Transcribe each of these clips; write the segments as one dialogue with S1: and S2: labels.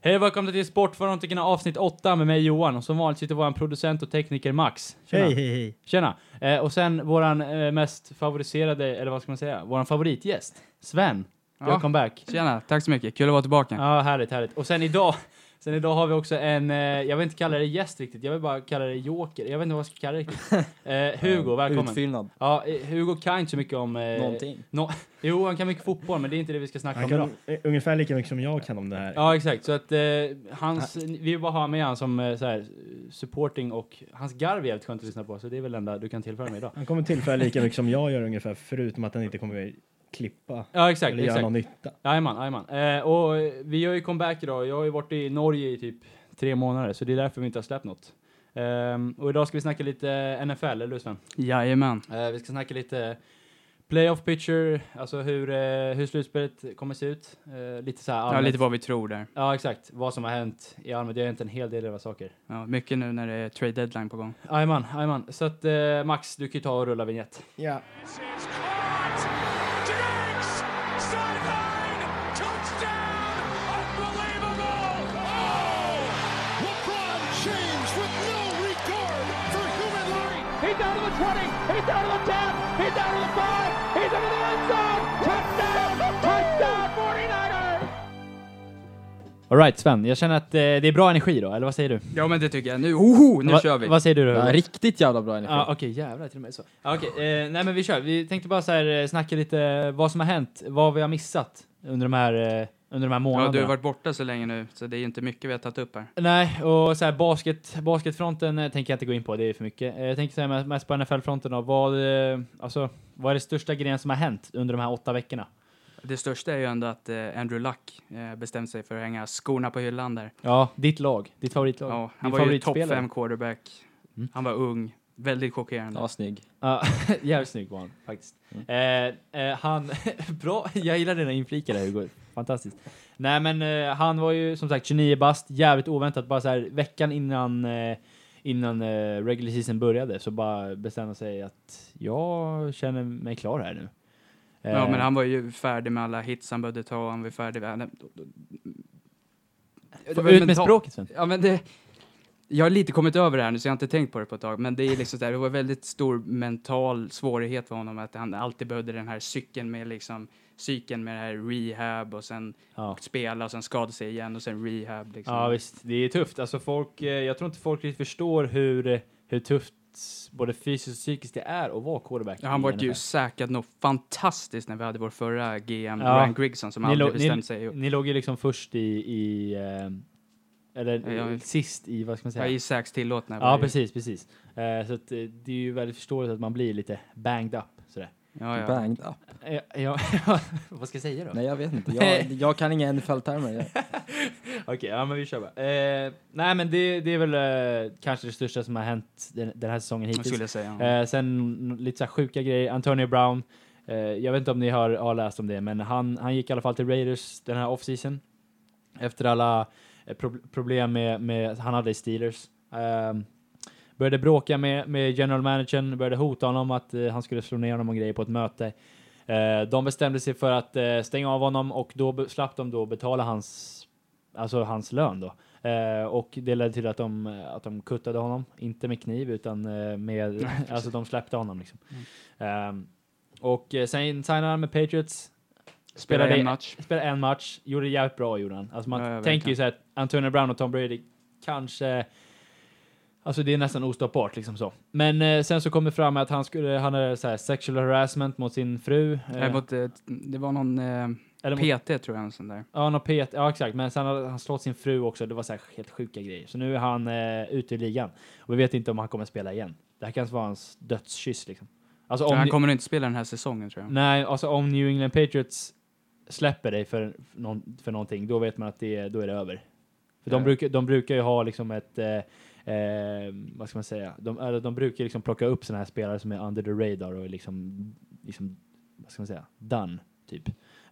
S1: Hej och välkomna till Sportfanatikerna avsnitt 8 med mig Johan och som vanligt sitter vår producent och tekniker Max. Tjena!
S2: Hej, hej, hej.
S1: Tjena. Eh, och sen våran eh, mest favoriserade, eller vad ska man säga, våran favoritgäst, Sven.
S3: Ja.
S1: Welcome back.
S3: Tjena, tack så mycket. Kul att vara tillbaka.
S1: Ja, härligt, härligt. Och sen idag, sen idag har vi också en, eh, jag vill inte kalla det gäst riktigt, jag vill bara kalla det joker. Jag vet inte vad jag ska kalla det riktigt. Eh, Hugo, välkommen.
S2: Utfyllnad.
S1: Ja, eh, Hugo kan inte så mycket om... Eh,
S2: Någonting.
S1: nå- jo, han kan mycket fotboll, men det är inte det vi ska snacka
S4: Han
S1: om idag.
S4: kan eh, ungefär lika mycket som jag kan om det här.
S1: Ja, exakt. Så att eh, hans, vi vill bara ha med han som eh, så här, supporting och hans garv är jävligt skönt att lyssna på, så det är väl det enda du kan tillföra mig idag.
S4: Han kommer tillföra lika mycket som jag gör ungefär, förutom att han inte kommer klippa
S1: Ja, exakt.
S4: eller göra
S1: exakt.
S4: någon nytta.
S1: Jajamän, jajamän. Eh, och eh, vi gör ju comeback idag. Jag har ju varit i Norge i typ tre månader, så det är därför vi inte har släppt något. Ehm, och idag ska vi snacka lite NFL, eller hur Sven?
S3: Jajamän.
S1: Eh, vi ska snacka lite playoff picture, alltså hur, eh, hur slutspelet kommer se ut. Eh, lite så här
S3: Ja,
S1: allmänt.
S3: lite vad vi tror där.
S1: Ja, exakt. Vad som har hänt i allmänhet. Det har hänt en hel del av saker.
S3: Ja, mycket nu när det är trade deadline på gång.
S1: Jajamän, jajamän. Så att eh, Max, du kan ju ta och rulla vignett.
S4: Ja.
S5: This is caught. Diggs! Sideline! Touchdown! Unbelievable! Oh! LeBron James with no regard for human life! He's down to the 20! He's down to the 10! He's down to the 5! He's into the end zone! Touchdown! Touchdown 49ers!
S1: Alright Sven, jag känner att eh, det är bra energi då, eller vad säger du?
S3: Ja, men det tycker jag. Nu, hoho, nu
S1: Va-
S3: kör vi.
S1: Vad säger du då?
S2: Ja, riktigt jävla bra energi.
S1: Ja, okej, jävlar till och med så. Ja, okej, eh, nej men vi kör. Vi tänkte bara så här, eh, snacka lite vad som har hänt, vad vi har missat under de här, eh, under de här
S3: Ja,
S1: månaderna.
S3: du har varit borta så länge nu, så det är inte mycket vi har tagit upp här.
S1: Nej, och så här basket, basketfronten eh, tänker jag inte gå in på, det är för mycket. Eh, jag tänker säga mest- mest på NFL-fronten då. Vad, eh, alltså, vad är det största grejen som har hänt under de här åtta veckorna?
S3: Det största är ju ändå att eh, Andrew Luck eh, bestämde sig för att hänga skorna på hyllan där.
S1: Ja, ditt lag, ditt favoritlag.
S3: Ja, han
S1: Din
S3: var ju topp
S1: favoritspelare.
S3: fem quarterback.
S1: Mm.
S3: Han var ung. Väldigt chockerande.
S2: Ja, snygg. Mm.
S1: Ja, jävligt snygg var han faktiskt. Eh, eh, han, bra, jag gillar dina inflikar där Hugo. Fantastiskt. Nej men eh, han var ju som sagt 29 bast, jävligt oväntat. Bara så här veckan innan, eh, innan eh, regular season började så bara bestämde han sig att jag känner mig klar här nu. Eh,
S3: Ja, men han var ju färdig med alla hits han behövde ta. Han var färdig med... nej, då- då- Det var
S1: Ut med
S3: mentalt.
S1: språket Sven.
S3: Ja, men det... Jag har lite kommit över det här nu, så jag har inte tänkt på det på ett tag. Men det är liksom så här, det var väldigt stor mental svårighet för honom att han alltid behövde den här cykeln med liksom cykeln med det här rehab och sen
S1: Ja.
S3: spela och sen skada sig igen och sen rehab liksom.
S1: ja visst, det är tufft. Alltså folk, eh, jag tror inte folk riktigt förstår hur, hur tufft både fysiskt och psykiskt det är att vara quarterback.
S3: Ja, han
S1: i
S3: var ju
S1: NFL.
S3: säkrat något fantastiskt när vi hade vår förra GM,
S1: Ja.
S3: Ryan Grigson, som
S1: Ni
S3: aldrig
S1: lo- ni-
S3: bestämde sig.
S1: Ni låg ju liksom först i, i eh, eller
S3: Ja,
S1: eh,
S3: ja.
S1: sist i, vad ska man
S3: Ja,
S1: säga?
S3: I sax tillåtna. var
S1: Ja,
S3: det-
S1: precis, precis. Eh, så att, eh, det är ju väldigt förståeligt att man blir lite banged up sådär.
S3: Ja, ja.
S2: Banged up.
S1: Eh, ja, vad ska jag säga då?
S2: Nej, jag vet inte.
S1: Nej.
S2: Jag, jag kan inga NFL-termer. Jag-
S1: Okej, ja men vi kör bara. Eh, nej men det, det är väl eh, kanske det största som har hänt den, den här säsongen
S3: Det
S1: hittills.
S3: skulle jag säga. Ja.
S1: Eh, sen lite så här sjuka grejer. Antonio Brown. Eh, jag vet inte om ni har, har läst om det, men han, han gick i alla fall till Raiders den här offseason. Efter alla eh, prob- problem med, med, han hade i Steelers. Eh, började bråka med, med general managern, började hota honom att eh, han skulle slå ner honom och grejer på ett möte. Eh, de bestämde sig för att eh, stänga av honom och då be- slapp de då betala hans, alltså hans lön då. Eh, och det ledde till att de, att de kuttade honom, inte med kniv utan eh, med, alltså de släppte honom liksom.
S3: Mm.
S1: Eh, och eh, sen signade han med Patriots,
S3: Spelade
S1: spelade- eh.
S3: en match.
S1: spelade en match, gjorde det jävligt bra gjorde han. Alltså man
S3: Ja, ja,
S1: tänker ju
S3: verkligen.
S1: så här att Antonio Brown och Tom Brady kanske, alltså det är nästan ostoppbart liksom så. Men eh, sen så kom det fram att han skulle, han hade så här sexual harassment mot sin fru.
S3: Nej, mot, eh, det var någon eh,
S1: eller mot-
S3: PT tror jag, en sån där.
S1: Ja, han har pet, ja exakt, men sen har han slått sin fru också. Det var så här helt sjuka grejer. Så nu är han eh, ute i ligan och vi vet inte om han kommer spela igen. Det här kanske vara hans dödskyss liksom. Alltså om,
S3: han
S1: ni-
S3: kommer nog inte spela den här säsongen tror jag.
S1: nej, alltså om New England Patriots släpper dig för, för, någon, för någonting, då vet man att det, är- då är det över. För de,
S3: Ja.
S1: brukar, de brukar ju ha liksom ett, eh, eh, vad ska man säga, de, eller, de brukar liksom plocka upp sådana här spelare som är under the radar och är liksom, liksom vad ska man säga, done, typ.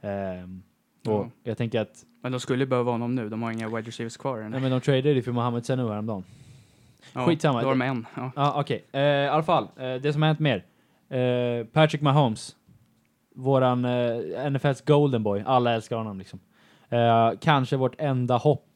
S1: Ehm, och
S3: Ja.
S1: jag tänker att
S3: Men de skulle behöva honom nu. De har inga wide receivers kvar än.
S1: Nej men de tradade ju för Mohamed Sanu häromdagen.
S3: Ja,
S1: skitsamma.
S3: Då har de en. Ja.
S1: Ja ah, okej, Eh, i alla fall. eh, det som har hänt mer. Eh, Patrick Mahomes. Våran eh, NFLs golden boy. Alla älskar honom liksom. Eh, kanske vårt enda hopp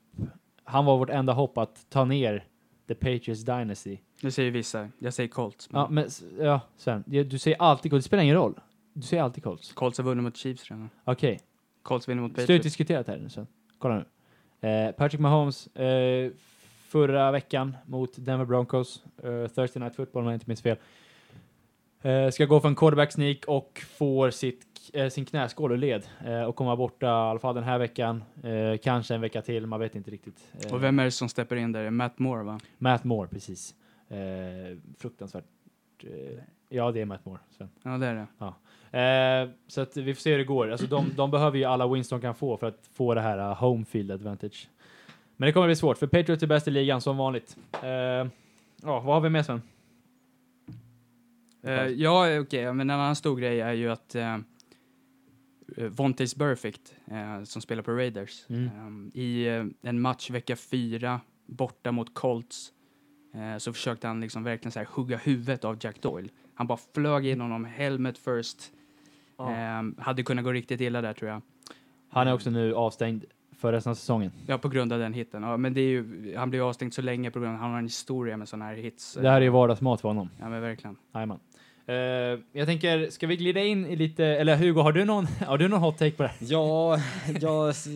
S1: han var vårt enda hopp att ta ner The Patriots Dynasty.
S3: Nu säger vissa, jag säger Colts. Men
S1: Ja, men s- ja, Sven, du du säger alltid Colts, det spelar ingen roll. Du säger alltid Colts.
S3: Colts har vunnit mot Chiefs redan.
S1: Okej,
S3: Colts vinner mot
S1: okay. slut
S3: Patriots.
S1: diskuterat här nu Sven. Kolla nu. Eh, Patrick Mahomes, eh, förra veckan mot Denver Broncos, eh, Thursday Night Football om jag inte minns fel, eh, ska gå för en quarterback sneak och får sitt, eh, sin knäskål ur led eh, och komma borta i alla fall den här veckan, eh, kanske en vecka till, man vet inte riktigt. Eh,
S3: Och vem är det som steppar in där? Det är Matt Moore va?
S1: Matt Moore, precis. Eh, fruktansvärt. Eh, ja, det är Matt Moore. Sven.
S3: Ja det är det.
S1: Eh, så att vi får se hur det går. Alltså, de, de behöver ju alla wins de kan få för att få det här eh, home field advantage. Men det kommer bli svårt, för Patriots är bäst i ligan som vanligt. Eh, Ja, vad har vi med Sven?
S3: Eh, ja okej, men en annan stor grej är ju att uh, Vontaze Burfict eh, som spelar på Raiders
S1: Mm.
S3: eh, i eh, en match vecka fyra borta mot Colts eh, så försökte han liksom verkligen så här hugga huvudet av Jack Doyle. Han bara flög in honom, helmet first. Eh, hade kunnat gå riktigt illa där tror jag. Ehm,
S1: Han är också nu avstängd för resten av säsongen.
S3: Ja, på grund av den hitten. Ja, men det är ju, han blir ju avstängd så länge på grund av att han har en historia med sådana här hits.
S1: Det här är ju vardagsmat för honom.
S3: Ja, men verkligen.
S1: Jajamän. Eh, jag tänker, ska vi glida in i lite, eller Hugo, har du någon, har du någon hot take på det här?
S2: Ja, jag, s-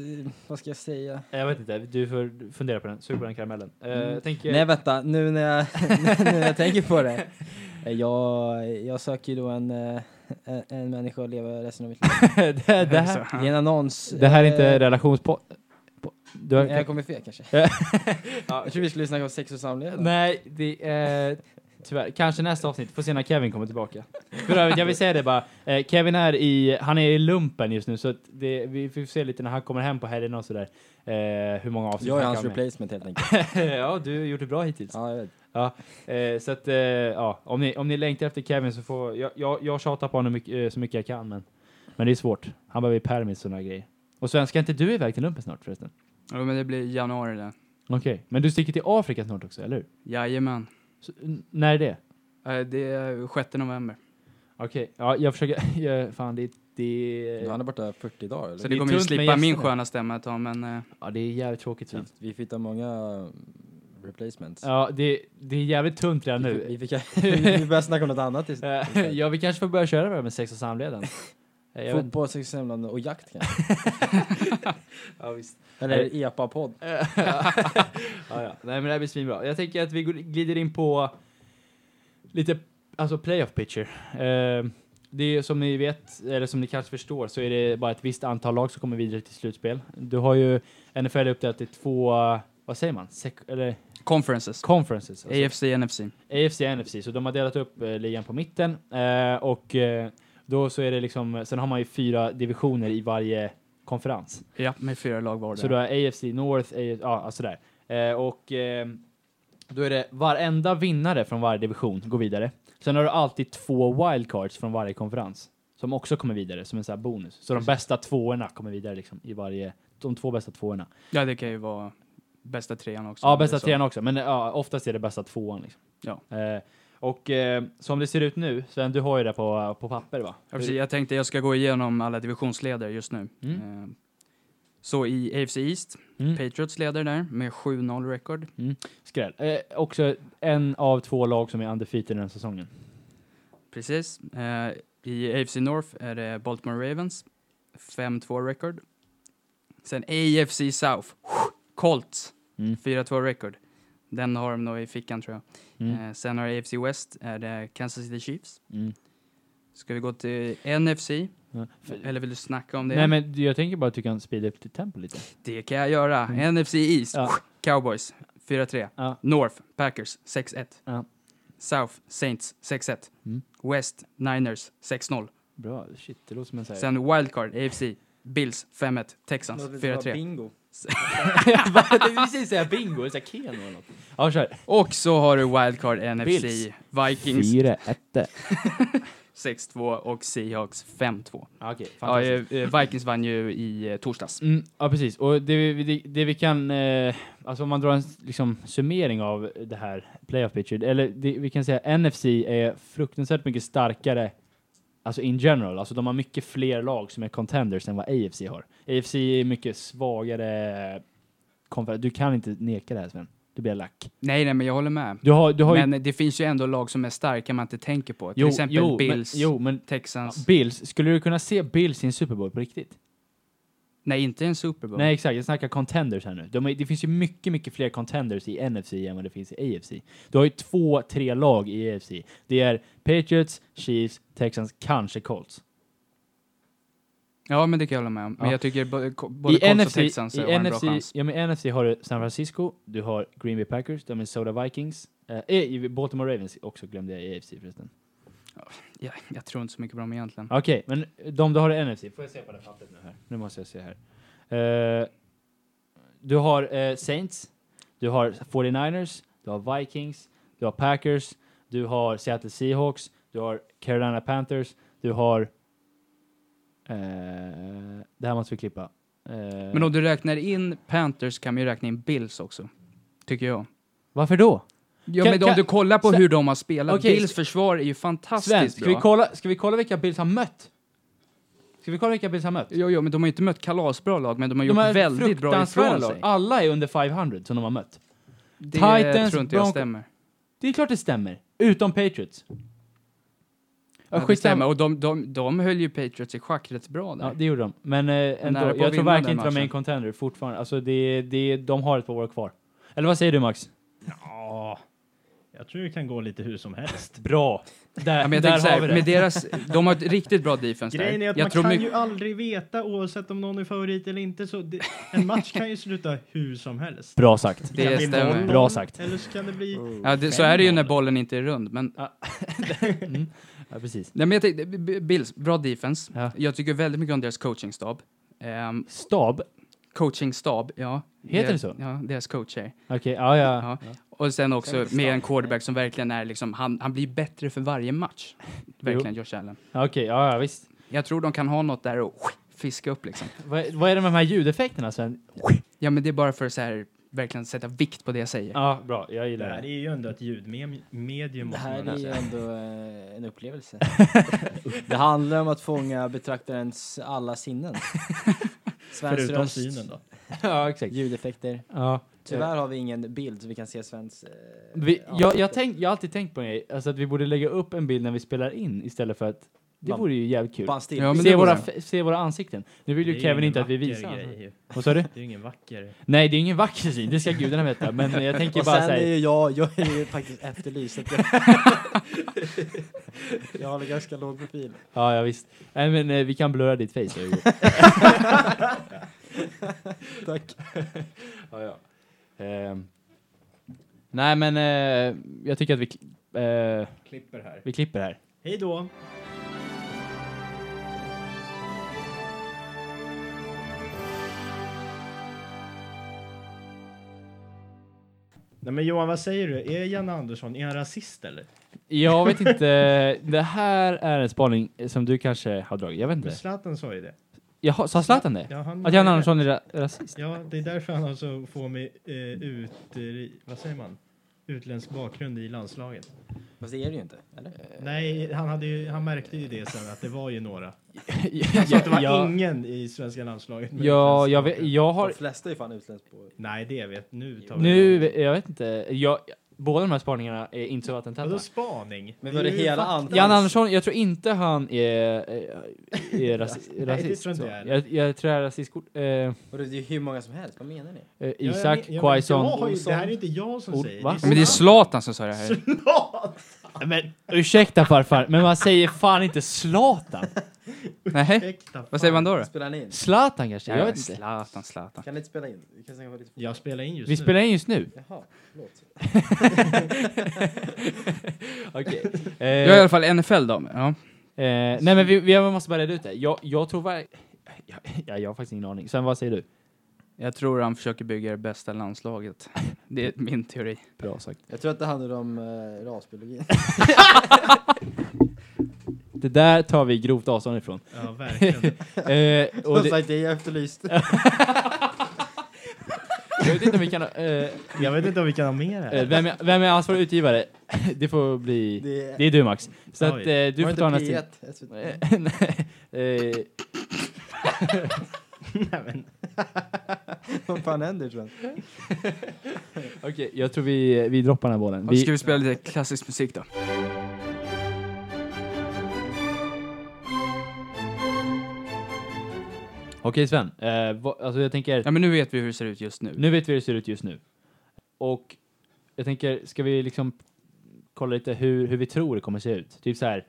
S2: vad ska jag säga?
S1: Jag vet inte, du får fundera på den. Sug på den karamellen. Eh, jag tänker,
S2: Nej vänta, nu när jag, nu när jag tänker på det. Eh, Jag, jag söker ju då en, eh, en, en människa att leva resten av mitt liv.
S1: det, det, här,
S2: Det är en annons.
S1: det här är inte
S2: Eh,
S1: relationspodd. po- Du har,
S2: nej, Jag kommer fel kanske.
S1: Ja.
S2: Jag tror vi skulle snacka om sex och samlevnad.
S1: Nej, det är... Tyvärr, kanske nästa avsnitt. Får se när Kevin kommer tillbaka. För övrigt, jag vill säga det bara. Eh, Kevin är i, han är i lumpen just nu, så att det, vi får se lite när han kommer hem på helgen och sådär. Eh, hur många avsnitt
S2: Jag är
S1: han
S2: hans
S1: kan med.
S2: replacement helt enkelt.
S1: ja, du har gjort det bra hittills.
S2: Ja, jag vet.
S1: Eh, så att, eh, ja, om ni, om ni längtar efter Kevin så får, jag, jag, jag tjatar på honom mycket, eh, så mycket jag kan, men, men det är svårt. Han behöver ju permis och sådana grejer. Och Sven, ska inte du iväg till lumpen snart förresten?
S3: Ja, men det blir i januari det.
S1: Okej, men du sticker till Afrika snart också, eller hur?
S3: Jajamän.
S1: Så, n- när är det?
S3: Eh, Det är 6 november.
S1: Okej, ja, jag försöker... Jag, fan, det, det,
S2: Han är borta 40 dagar
S3: Så
S2: eller?
S1: Det
S3: det
S1: är
S3: kommer ju
S1: tunt med
S3: slippa min
S1: gästerna.
S3: sköna stämma ett tag, men eh,
S1: ja, det är jävligt tråkigt.
S2: Vi,
S1: Fint.
S2: vi fick ta många eh, replacements.
S1: Ja, det, det är jävligt tunt redan
S2: Vi,
S1: nu.
S2: fick- vi, fick, vi började snacka om något annat istället.
S1: Eh, ja, vi kanske får börja köra det här med sex och samleden. Eh, jag vet inte.
S2: Fotboll, sex och samlevnad och jakt kanske.
S1: ja, visst.
S2: Eller EPA-podd.
S1: ja, ja. Nej, men det här blir svinbra. Jag tänker att vi går- glider in på lite alltså playoff pitcher. Eh, det är som ni vet, eller som ni kanske förstår, så är det bara ett visst antal lag som kommer vidare till slutspel. Du har ju NFL uppdelat till två, vad säger man, Sek- eller
S3: conferences.
S1: conferences. alltså.
S3: AFC, NFC.
S1: AFC och NFC, så de har delat upp eh, ligan på mitten. Eh, och eh, då så är det liksom, sen har man ju fyra divisioner i varje konferens.
S3: Ja, med fyra lag var
S1: Så du
S3: det.
S1: har AFC North, AFC, ja alltså där. Eh, och eh, då är det varenda vinnare från varje division går vidare. Sen har du alltid två wildcards från varje konferens som också kommer vidare som en sån här bonus. Så de bästa tvåorna kommer vidare liksom i varje, de två bästa tvåorna.
S3: Ja, det kan ju vara bästa trean också.
S1: Ja,
S3: om det är
S1: bästa
S3: så.
S1: trean också, men ja, oftast är det bästa tvåan. Liksom.
S3: Ja.
S1: Eh, och eh, som det ser ut nu, Sven, du har ju det på, på papper va?
S3: Ja, precis. Jag tänkte jag ska gå igenom alla divisionsledare just nu.
S1: Mm.
S3: Eh, Så i AFC East,
S1: Mm.
S3: Patriots leder där med 7-0 record.
S1: Skräll. Eh, också en av två lag som är undefeated den här säsongen.
S3: Precis. Eh, I AFC North är det Baltimore Ravens, 5-2 record. Sen AFC South, Colts,
S1: Mm.
S3: 4-2 record. Den har de nog i fickan tror jag.
S1: Mm.
S3: Eh, sen har AFC West, är det Kansas City Chiefs.
S1: Mm.
S3: Ska vi gå till NFC?
S1: Ja. För-
S3: Eller vill du snacka om det?
S1: Nej men jag tänker bara att du kan speeda upp till tempo lite.
S3: Det kan jag göra. NFC East,
S1: Mm. Ja.
S3: Cowboys, 4-3.
S1: Ja.
S3: North, Packers, 6-1.
S1: Ja.
S3: South, Saints, 6-1.
S1: Mm.
S3: West, Niners, 6-0.
S1: Bra, shit det låter som en sån här...
S3: Sen wildcard, AFC, Bills 5-1, Texans
S2: Låter lite som
S3: 4-3.
S2: Bingo.
S1: Jag tänkte precis säga bingo, eller Keno eller något. Ja kör.
S3: Och så har du wildcard NFC,
S1: Bills.
S3: Vikings
S1: Fyra, ette.
S3: 6-2 och Seahawks 5-2.
S1: Ja, Okej,
S3: Ja,
S1: fantastiskt.
S3: eh, eh, Vikings vann ju i eh, torsdags.
S1: Mm, ja precis, och det, vi- det, det vi kan, eh, alltså om man drar en s- liksom, summering av det här playoff picture, eller det, vi kan säga NFC är fruktansvärt mycket starkare, alltså in general, alltså de har mycket fler lag som är contenders än vad AFC har. AFC är mycket svagare konferens. eh, Du kan inte neka det här Sven. Du blir lack.
S3: Nej, nej, men jag håller med.
S1: Du har, du har ju...
S3: Men det finns ju ändå lag som är starka man inte tänker på. Till exempel Bills,
S1: Men, jo, men
S3: Texans.
S1: Bills. Skulle du kunna se Bills i en Super Bowl på riktigt?
S3: nej, inte en Super Bowl.
S1: Nej, exakt. Jag snackar contenders här nu. De är, det finns ju mycket, mycket fler contenders i NFC än vad det finns i AFC. Du har ju två, tre lag i AFC. Det är Patriots, Chiefs, Texans, kanske Colts.
S3: Ja, men det kan jag hålla med om. Men
S1: Ja.
S3: jag tycker bo- ko- både
S1: I
S3: Colts och
S1: NFC,
S3: Texans har
S1: i
S3: en bra
S1: NFC,
S3: chans.
S1: ja, men NFC har du San Francisco, du har Green Bay Packers, de är Soda Vikings, eh, eh, Baltimore Ravens också glömde jag i AFC förresten.
S3: Ja, jag tror inte så mycket bra om egentligen.
S1: Okej, men de du har i NFC, får jag se på det här pappret nu här? Nu måste jag se här. Eh, du har eh, Saints, du har 49ers, du har Vikings, du har Packers, du har Seattle Seahawks, du har Carolina Panthers, du har... eh, det här måste vi klippa. Eh,
S3: Men om du räknar in Panthers kan man ju räkna in Bills också. Tycker jag.
S1: varför då?
S3: Ja,
S1: Kan-
S3: men
S1: kan-
S3: om du kollar på
S1: Sven-
S3: hur de har spelat.
S1: Okej,
S3: Bills
S1: s-
S3: försvar är ju fantastiskt
S1: Sven, ska
S3: bra.
S1: vi, kolla, ska vi kolla vilka Bills har mött? Ska vi kolla vilka Bills har mött?
S3: Jo, jo, men de har ju inte mött kalasbra lag, men de har gjort
S1: har
S3: väldigt bra
S1: fruktansvärda
S3: ifrån
S1: lag.
S3: sig.
S1: Alla är under 500 som de har mött.
S3: Det
S1: Titans,
S3: tror inte jag
S1: Broncos-
S3: stämmer.
S1: Det är klart det stämmer. Utom Patriots.
S3: Ja, det stämmer. Och de, de, de höll ju Patriots i schack rätt bra där.
S1: Ja, det gjorde de. Men eh, ändå,
S3: nära på
S1: jag
S3: att
S1: tror
S3: vinna
S1: verkligen
S3: den
S1: inte de är en
S3: matchen.
S1: contender fortfarande. Alltså, det, det, de har ett par år kvar. Eller vad säger du Max?
S4: Ja, jag tror det kan gå lite hur som helst.
S1: Bra! Där,
S3: Ja, men jag
S1: där
S3: tänker så
S1: har vi
S3: här,
S1: det.
S3: med deras, de har ett riktigt bra defense
S4: Grejen
S3: där.
S4: är att
S3: Jag
S4: man
S3: tror
S4: kan
S3: mycket-
S4: ju aldrig veta oavsett om någon är favorit eller inte. Så det, en match kan ju sluta hur som helst.
S1: Bra sagt.
S3: Det
S4: kan bli
S3: stämmer.
S4: 0-0,
S1: Bra sagt. Oh,
S4: Eller så kan det bli...
S3: Ja, det, så är det ju när bollen inte är rund. Men,
S1: Ja, precis.
S3: nej, men jag tänkte, B- B- Bills, bra defense.
S1: Ja.
S3: Jag tycker väldigt mycket om deras coachingstab. Ehm,
S1: Stab?
S3: coachingstab, ja.
S1: Heter
S3: Deras-
S1: det så?
S3: Ja, deras coacher.
S1: Okej, ja, ja.
S3: Ja. Och sen också med en quarterback som verkligen är liksom, han, han blir bättre för varje match. Verkligen, Josh Allen.
S1: Okej, ja, ja, visst.
S3: Jag tror de kan ha något där och fiska upp liksom.
S1: Vad, vad är det med de här ljudeffekterna Sven?
S3: Ja, men det är bara för att så här, verkligen sätta vikt på det jag säger.
S1: Ja, bra. Jag
S4: Det
S1: gillar
S4: här är
S1: det.
S4: ju ändå ett ljudmedium.
S2: Det
S4: måste
S2: här
S4: man
S2: är ju
S4: säga.
S2: ändå eh, en upplevelse. det handlar om att fånga betraktarens alla sinnen. Svens
S4: Förutom
S2: röst,
S4: synen då.
S1: Ja, exakt.
S2: ljudeffekter.
S1: Ja.
S2: Tyvärr har vi ingen bild så vi kan se Svens... eh,
S1: Vi,
S2: ja,
S1: jag, jag, tänk, jag har alltid tänkt på en grej, alltså att vi borde lägga upp en bild när vi spelar in istället för att det
S2: Bam.
S1: vore ju jävligt kul.
S2: bara en still.
S3: Ja, men
S1: se,
S3: det
S1: våra,
S3: vore-
S1: f- se våra ansikten. Nu vill
S4: Det är
S1: ju Kevin
S4: ingen
S1: inte att vi
S4: vacker
S1: visar.
S4: grej ju.
S1: Vad sa du?
S4: Det är ju ingen vacker...
S1: Nej, det är ingen vacker syn, det ska gudarna veta. Men jag tänker
S2: och
S1: bara
S2: sen är
S1: säga
S2: ju jag, jag är ju faktiskt efterlyst. så att Jag, jag har en ganska låg profil.
S1: Ja, ja visst. Nej, men eh, vi kan blurra ditt face. Hugo.
S2: Tack.
S1: ja, ja. Ehm. nej, men eh, jag tycker att vi, kl- eh,
S4: Klipper här.
S1: vi klipper här.
S4: Hej då! Nej men Johan, vad säger du? Är Janne Andersson, är han rasist eller?
S1: Jag vet inte, det här är en spaning som du kanske har dragit. Jag vet
S4: Men
S1: inte.
S4: Zlatan sa ju det.
S1: Jaha, sa Zlatan det?
S4: Ja, han
S1: Att Jan Andersson är ra- rasist?
S4: Ja, det är därför han alltså får med eh, ut... eh, Vad säger man? Utländsk bakgrund i landslaget.
S2: Fast det är det ju inte, eller?
S4: Nej, han, hade ju, han märkte ju det sen att det var ju några. Så
S1: ja,
S4: att det var
S1: ja,
S4: ingen i svenska landslaget. med
S1: ja,
S4: utländsk
S1: jag,
S4: bakgrund.
S1: vet, jag har
S2: De flesta är ju fan utländska på...
S4: Nej, det vet nu tar vi
S1: Nu, jag vet inte. Jag, båda de här spaningarna är inte så vattentäta.
S4: Vadå spaning?
S2: Men var det
S4: är ju
S2: hela
S4: fakta.
S2: andra?
S1: Jan Andersson, jag tror inte han är, eh, är, är rasist.
S4: Nej, det
S1: rasist
S4: tror inte
S1: så.
S4: jag heller.
S1: jag, jag tror jag är rasistkort. Eh, eh,
S2: Och det är ju hur många som helst, vad menar ni?
S4: Ja, jag
S1: Isak,
S4: men- ja, men jag
S1: Quaison.
S4: har ju- Det här är inte jag som
S1: Ol-
S4: säger
S1: va?
S4: det.
S3: Men det är Zlatan som sa det här.
S1: Men ursäkta farfar, men man säger fan inte Zlatan.
S3: Nej,
S4: Ursäkta,
S3: vad säger man då? då?
S2: Spelar ni in?
S1: Zlatan kanske? Jag
S3: Ja,
S1: vet inte.
S3: Zlatan, Zlatan.
S2: Kan ni inte spela in? Vi kan stänga av lite.
S4: Jag spelar in just
S1: Vi
S4: nu.
S1: spelar in just nu.
S2: Jaha, förlåt.
S1: Okej.
S3: Jag är i
S1: Eh,
S3: alla fall NFL då. men, Ja.
S1: eh, nej men vi, vi måste bara reda ut det. Jag, jag tror var... Jag, jag, jag har faktiskt ingen aning. Sen vad säger du?
S3: Jag tror han försöker bygga det bästa landslaget. Det är min teori.
S1: Bra sagt.
S2: Jag tror att det handlar om eh, rasbiologin.
S1: Det där tar vi grovt avstånd ifrån.
S4: Ja, verkligen.
S1: Eh, och
S2: Som
S1: det,
S2: sagt, det är jag efterlyst.
S1: jag vet inte om vi kan... Eh,
S4: Jag vet inte om vi kan ha mer
S1: Eh,
S4: här.
S1: Vem är, vem är ansvarig utgivare? Det får bli...
S2: Det är...
S1: Det är du Max. Så att eh,
S4: Oj.
S1: du
S2: Var
S1: får
S2: inte
S1: ta nästa...
S2: P1, SVT?
S1: Eh, nej, eh,
S4: Nej, men,
S2: Vad fan händer sen?
S1: Okej, jag tror vi, vi droppar den här bollen.
S3: Och
S1: Vi,
S3: ska vi spela lite klassisk musik då?
S1: Okej Sven, eh, vad, alltså jag tänker,
S3: Ja, men nu vet vi hur det ser ut just nu.
S1: nu vet vi hur det ser ut just nu. Och jag tänker, ska vi liksom kolla lite hur, hur vi tror det kommer se ut? Typ så här,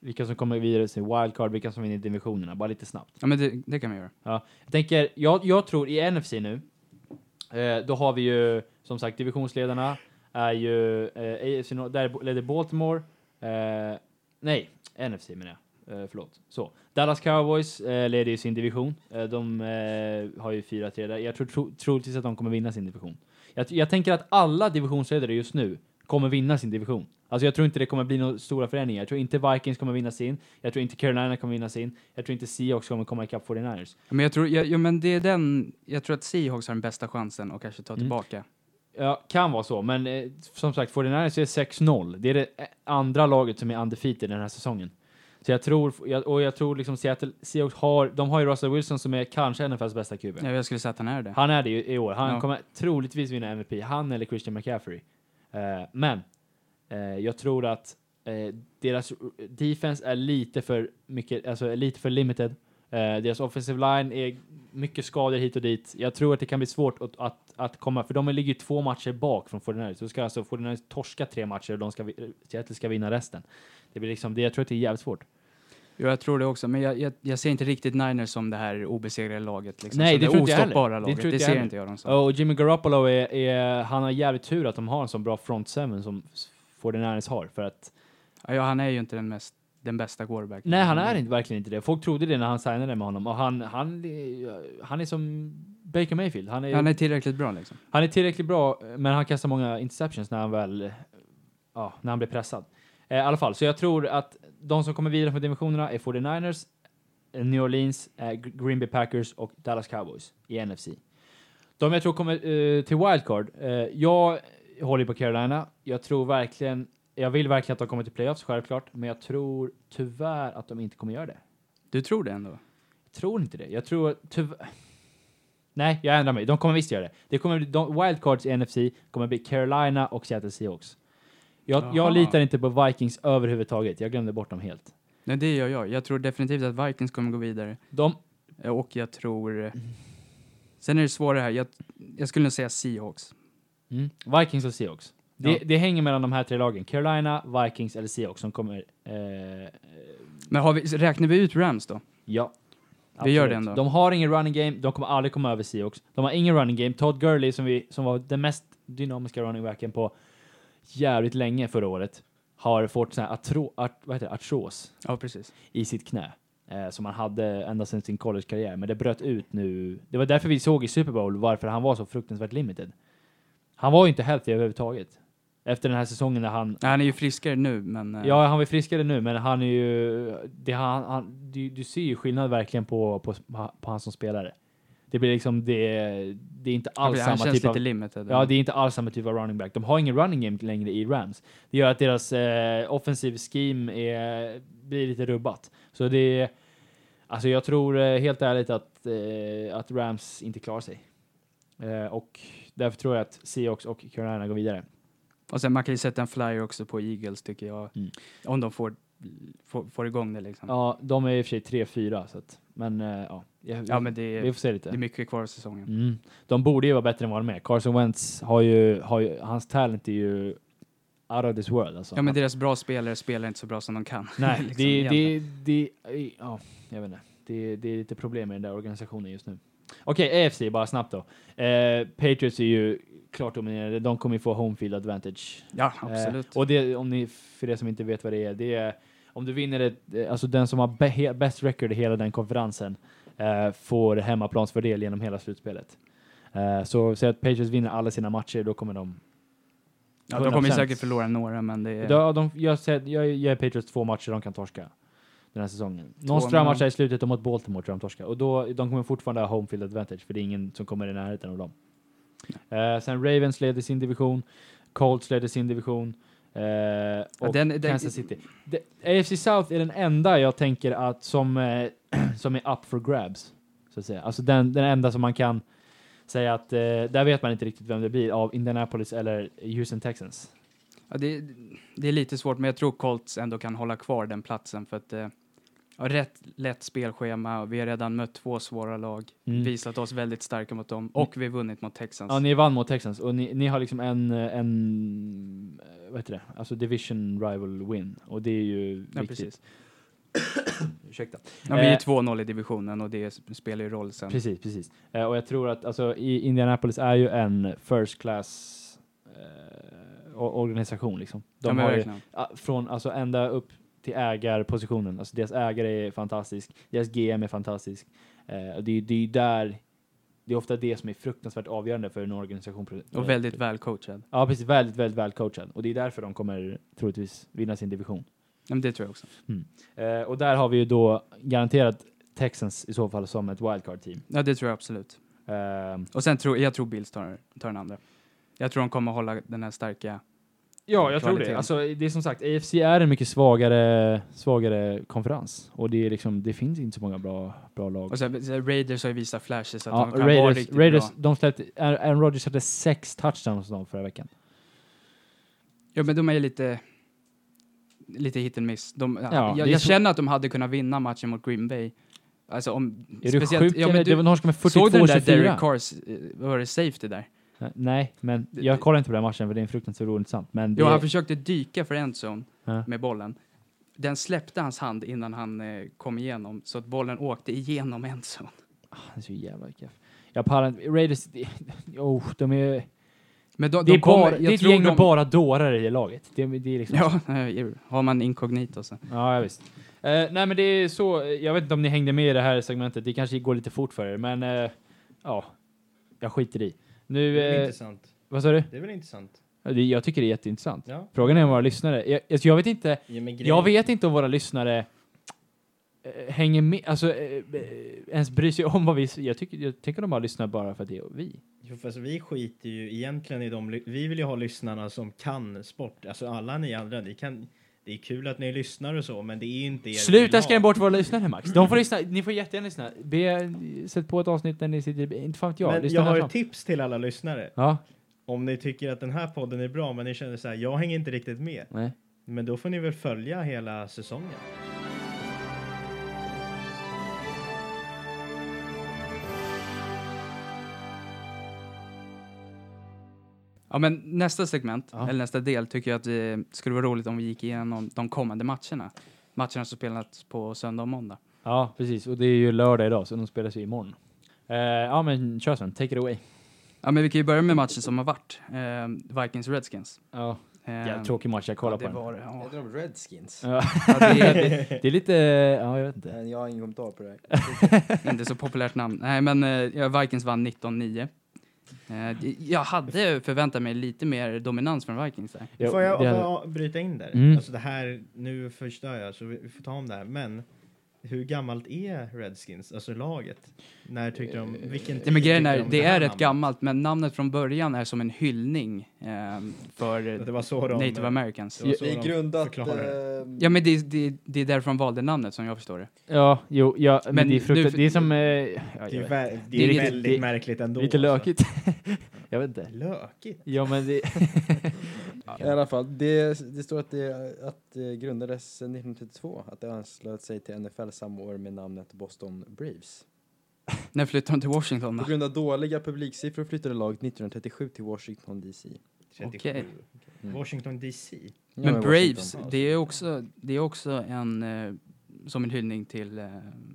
S1: vilka som kommer vidare till wildcard, vilka som vinner divisionerna, bara lite snabbt.
S3: Ja, men det, det kan vi göra.
S1: Jag tänker, jag, jag tror i NFC nu, eh, då har vi ju som sagt divisionsledarna är ju eh, AFC, North- där leder Baltimore, eh, nej, NFC menar jag, eh, förlåt. Så. Dallas Cowboys eh, leder ju sin division, eh, de eh, har ju 4-3 där. Jag tror tro, troligtvis att de kommer vinna sin division. Jag, jag tänker att alla divisionsledare just nu kommer vinna sin division. Alltså jag tror inte det kommer bli några stora förändringar. Jag tror inte Vikings kommer vinna sin, jag tror inte Carolina kommer vinna sin, jag tror inte Seahawks kommer komma ikapp 49ers.
S3: Ja, Men jag tror, ja, ja, men det är den, jag tror att Seahawks har den bästa chansen att kanske ta
S1: Mm.
S3: tillbaka.
S1: Ja, kan vara så, men eh, som sagt, 49ers är 6-0. Det är det eh, andra laget som är undefeated den här säsongen. Så jag tror, jag- och jag tror liksom Seattle, Seahawks har, de har ju Russell Wilson som är kanske NFLs bästa QB.
S3: Ja, jag skulle säga att han är det.
S1: Han är det ju i år. Han
S3: Ja.
S1: kommer troligtvis vinna MVP, han eller Christian McCaffrey. Eh, men eh, jag tror att eh, deras defense är lite för mycket, alltså är lite för limited. Eh, deras offensive line är mycket skador hit och dit. Jag tror att det kan bli svårt att, att, att komma, för de ligger ju två matcher bak från 49ers. Då ska alltså 49ers torska tre matcher och de ska, vi- eh, Seattle ska vinna resten. Det blir liksom, det, jag tror att det är jävligt svårt.
S3: Jo, jag tror det också, men jag, jag, jag ser inte riktigt Niners som det här obesegrade laget. Liksom,
S1: Nej,
S3: som
S1: det tror inte jag heller.
S3: ostoppbara
S1: Det
S3: laget.
S1: tror
S3: Det,
S1: inte jag
S3: ser
S1: heller.
S3: inte jag dem som.
S1: Ja, Och Jimmy Garoppolo är, är, han har jävligt tur att de har en sån bra front seven som 49ers har, för att
S3: Ja, ja, han är ju inte den, mest, den bästa quarterbacken.
S1: Nej, han är inte, verkligen inte det. Folk trodde det när han signade med honom. Och han, han, är- han är som Baker Mayfield. Han är,
S3: Han är tillräckligt bra liksom.
S1: han är tillräckligt bra, men han kastar många interceptions när han väl... Ja, när han blir pressad. Eh, I alla fall, så jag tror att de som kommer vidare från divisionerna är 49ers, eh, New Orleans, eh, Gr- Green Bay Packers och Dallas Cowboys i NFC. De jag tror kommer eh, till wildcard. Eh, jag håller på Carolina. Jag tror verkligen... Jag vill verkligen att de kommer till playoffs, självklart, men jag tror tyvärr att de inte kommer göra det
S3: Du tror det ändå?
S1: tror inte det. Jag tror tyvärr... Nej, jag ändrar mig. De kommer visst göra det. det kommer bli, de, wildcards i NFC kommer bli Carolina och Seattle Seahawks. Jag,
S3: Jaha.
S1: jag litar inte på Vikings överhuvudtaget. Jag glömde bort dem helt.
S3: Nej, det gör jag. Jag tror definitivt att Vikings kommer gå vidare.
S1: De,
S3: Eh, Och jag tror... eh, Sen är det svårare här. Jag, jag skulle nog säga Seahawks.
S1: mm, Vikings och Seahawks. Det,
S3: Ja.
S1: det hänger mellan de här tre lagen. Carolina, Vikings eller Seahawks som kommer... Eh,
S3: Men har vi, räknar vi ut Rams då?
S1: ja.
S3: Vi gör
S1: Absolut.
S3: det ändå.
S1: De har ingen running game, de kommer aldrig komma över Seahawks. De har ingen running game. Todd Gurley, som, vi, som var den mest dynamiska running backen på jävligt länge förra året, har fått sån här atro, at, vad heter det, artros
S3: Ja, precis.
S1: i sitt knä. Eh, som han hade ända sedan sin collegekarriär, men det bröt ut nu. Det var därför vi såg i Super Bowl varför han var så fruktansvärt limited. Han var ju inte healthy överhuvudtaget. Efter den här säsongen när han...
S3: Nej, han är ju friskare nu, men... eh,
S1: Ja, han var ju friskare nu, men han är ju... Det, han, han, du, du ser ju skillnad verkligen på, på, på han som spelare. Det blir liksom det... Det är inte
S3: han,
S1: alls
S3: han
S1: samma typ
S3: känns lite
S1: av...
S3: limited.
S1: Ja, det är inte alls samma typ av running back. De har ingen running game längre i Rams. Det gör att deras eh, offensiv scheme är, blir lite rubbat. Så det är... Alltså jag tror eh, helt ärligt att, eh, att Rams inte klarar sig. Eh, och därför tror jag att Seahawks och Carolina går vidare.
S3: Och sen man kan ju sätta en flyer också på Eagles, tycker jag.
S1: Mm.
S3: Om de får, får, får igång det liksom.
S1: Ja, de är i och för sig 3-4, så att, men eh, ja. Jag-
S3: Ja, men det är,
S1: Vi får se
S3: det är
S1: lite.
S3: mycket kvar av säsongen.
S1: Mm. De borde ju vara bättre än vad de är. Carson Wentz har ju, har ju hans talent är ju out of this world alltså.
S3: Ja, men deras bra spelare spelar inte så bra som de kan.
S1: Nej,
S3: liksom,
S1: det,
S3: egentligen.
S1: det, det, ja, jag vet inte. Det, det är lite problem med den där organisationen just nu. Okej, AFC, bara snabbt då. Eh, Patriots är ju klart dominerade. De kommer ju få home field advantage
S3: Ja, absolut.
S1: Eh, och det, om ni, för er som inte vet vad det är, det är om du vinner ett, eh, alltså den som har bä- he- bäst record i hela den konferensen eh, får hemmaplansfördel genom hela slutspelet. Eh, så säg att Patriots vinner alla sina matcher, då kommer de...
S3: ja, de kommer ju
S1: 100%.
S3: säkert förlora några, men det är...
S1: Då, de jag, säger, jag ger Patriots två matcher de kan torska den här säsongen. Någon
S3: men-
S1: strömmatch här i slutet och mot Baltimore tror jag de torskar. Och då, de kommer fortfarande ha home field advantage, för det är ingen som kommer i närheten av dem. Eh, sen Ravens leder sin division, Colts leder sin division, eh, och
S3: den- den-
S1: Kansas City. De, AFC South är den enda jag tänker att som, eh, som är up for grabs. Så att säga. Alltså den, den enda som man kan säga att eh, där vet man inte riktigt vem det blir av Indianapolis eller Houston Texans.
S3: Ja, det, det är lite svårt, men jag tror Colts ändå kan hålla kvar den platsen för att eh, ja, rätt lätt spelschema. Vi har redan mött två svåra lag,
S1: Mm.
S3: visat oss väldigt starka mot dem och vi har vunnit mot Texans.
S1: Ja, ni vann mot Texans och ni, ni har liksom en, eh, en eh, vad heter det, alltså division rival win och det är ju
S3: ja,
S1: viktigt.
S3: precis.
S1: Ursäkta.
S3: Ja, vi är
S1: Eh,
S3: 2-0 i divisionen och det sp- spelar ju roll sen.
S1: Precis, precis. Eh, och jag tror att alltså, i Indianapolis är ju en first class eh, o- organisation liksom. De
S3: ja, men
S1: har ju,
S3: verkligen.
S1: ah, från alltså ända upp till ägarpositionen. Alltså deras ägare är fantastisk, deras GM är fantastisk. Eh, och det, är- det är ju där, det är ofta det som är fruktansvärt avgörande för en organisation.
S3: Och väldigt välcoachad.
S1: Ja, precis. Väldigt, väldigt välcoachad. Och det är därför de kommer troligtvis vinna sin division.
S3: Ja, men det tror jag också.
S1: Eh, och där har vi ju då garanterat Texans i så fall som ett wildcard-team.
S3: Ja, det tror jag absolut.
S1: Ehm,
S3: Och sen tror jag tror Bills tar, tar den andra. Jag tror de kommer hålla den här starka.
S1: Ja, jag tror det.
S3: kvaliteten.
S1: Alltså, det är som sagt, AFC är en mycket svagare, svagare konferens. Och det, är liksom, det finns inte så många bra, bra lag.
S3: Och sen, sen Raiders har ju visat flashes Alltså, att
S1: Ja,
S3: de kan vara
S1: Raiders,
S3: riktigt
S1: Raiders
S3: bra.
S1: de släppte, Aaron Rodgers hade sex touchdowns dem förra veckan.
S3: Ja, men de är ju lite, lite hit and miss. De,
S1: det
S3: jag
S1: är
S3: jag
S1: så-
S3: känner att de hade kunnat vinna matchen mot Green Bay. Alltså om...
S1: Är du sjuk
S3: ja,
S1: eller?
S3: men
S1: Det var
S3: du,
S1: någon som med
S3: såg du den där
S1: 42-24.
S3: Derek Carrs, eh, vad var det safety där?
S1: Nej, men jag kollar inte på den matchen för det är en fruktansvärt ointressant. Men det,
S3: Jo, han försökte dyka för endzone
S1: Ja.
S3: med bollen. Den släppte hans hand innan han eh, kom igenom, så att bollen åkte igenom endzone.
S1: han Ah, är så jävla keff. Jag pallar inte. Raiders, det, oh, de är...
S3: Men
S1: det är,
S3: kommer-
S1: bara,
S3: jag
S1: det är ett
S3: tror
S1: gäng med
S3: de-
S1: bara dårar i det laget. Det, det är liksom
S3: Ja, nej, har man inkognito så.
S1: Ja, ja visst. Eh, nej, men det är så. Jag vet inte om ni hängde med i det här segmentet. Det kanske går lite fort för er, men eh, ja, jag skiter i.
S4: Det
S1: Nu,
S4: är väl
S1: eh,
S4: intressant.
S1: vad sa du?
S4: Det är väl intressant?
S1: Ja, det- Jag tycker det är jätteintressant.
S4: Ja.
S1: Frågan är om våra lyssnare. Jag, alltså, jag vet inte.
S4: Ja, men
S1: Jag vet inte om våra lyssnare eh, hänger med, alltså eh, eh, ens bryr sig om vad vi. Jag tycker, jag tänker de bara lyssnar bara för att det är vi.
S4: Jo, fast vi skiter ju egentligen i de... ly- Vi vill ju ha lyssnarna som kan sport. Alltså alla ni andra, ni kan... Det är kul att ni lyssnar och så, men det är inte er vi
S1: Sluta
S4: vill
S1: skrämma
S4: ha.
S1: bort våra lyssnare Max. De får lyssna. Ni får jättegärna lyssna. Be, sätt på ett avsnitt när ni sitter. Inte fan vet jag.
S4: men
S1: Lyssna
S4: jag har
S1: härifrån.
S4: ett tips till alla lyssnare.
S1: Ja,
S4: Om ni tycker att den här podden är bra, men ni känner så här, jag hänger inte riktigt med.
S1: nej.
S4: Men då får ni väl följa hela säsongen.
S3: Ja, men nästa segment,
S1: Ja.
S3: eller nästa del, tycker jag att det skulle vara roligt om vi gick igenom de kommande matcherna. Matcherna som spelats på söndag och måndag.
S1: Ja, precis. Och det är ju lördag idag, så de spelas ju imorgon. Eh, ja, men kör sen. Take it away.
S3: Ja, men vi kan ju börja med matchen som har varit. Eh, Vikings-Redskins.
S1: Ja.
S3: Eh,
S4: Ehm,
S1: Jävligt tråkig match, jag kollar
S3: ja, det
S1: på den.
S3: var det. Ja.
S2: Heter de Redskins?
S1: Ja,
S3: Ja, det är
S1: det är lite... Ja, jag vet inte.
S2: Jag har ingen kommentar på det här.
S3: inte så populärt namn. Nej, men eh, ja, Vikings vann 19-9. Eh, jag hade förväntat mig lite mer dominans från Vikings där.
S1: Jo,
S4: får jag
S1: det-
S4: bara bryta in där?
S1: Mm.
S4: Alltså det här, nu förstör jag så vi vi får ta om det här. Men hur gammalt är Redskins, alltså laget? När tyckte de, vilken tid
S3: Nej, men grejen
S4: tyckte
S3: är,
S4: de om
S3: det
S4: här
S3: är rätt
S4: namnet?
S3: gammalt, men namnet från början är som en hyllning eh, för eh,
S4: Det var så de...
S3: Native Americans.
S4: det var så
S2: Det är
S4: de
S2: grundat...
S4: förklarade det.
S2: eh,
S3: Ja, men det, det, det är därför de valde namnet som jag förstår det.
S1: Ja, jo, ja, men,
S3: Men
S1: det är fruktansvärt...
S3: nu-
S1: Det är som... Eh, ja,
S4: Det är,
S1: jag
S4: ju
S1: vet.
S4: vä-
S1: Det
S4: det är
S1: är
S4: ju
S1: lite-
S4: väldigt
S1: det-
S4: märkligt ändå.
S1: Lite
S4: alltså.
S1: lökigt. jag vet inte.
S4: Lökigt?
S1: Ja, men det...
S2: I alla fall, det, det står att det, att det grundades 1932, att det anslöt sig till NFL samma år med namnet Boston Braves.
S3: När flyttade de till Washington då?
S2: På grund av dåliga publiksiffror flyttade laget 1937 till Washington DC.
S4: 37.
S3: Okej.
S2: Mm.
S4: Washington DC.
S2: Ja,
S3: Men Braves,
S2: Washington.
S3: det är också, det är också en, eh, som en hyllning till eh,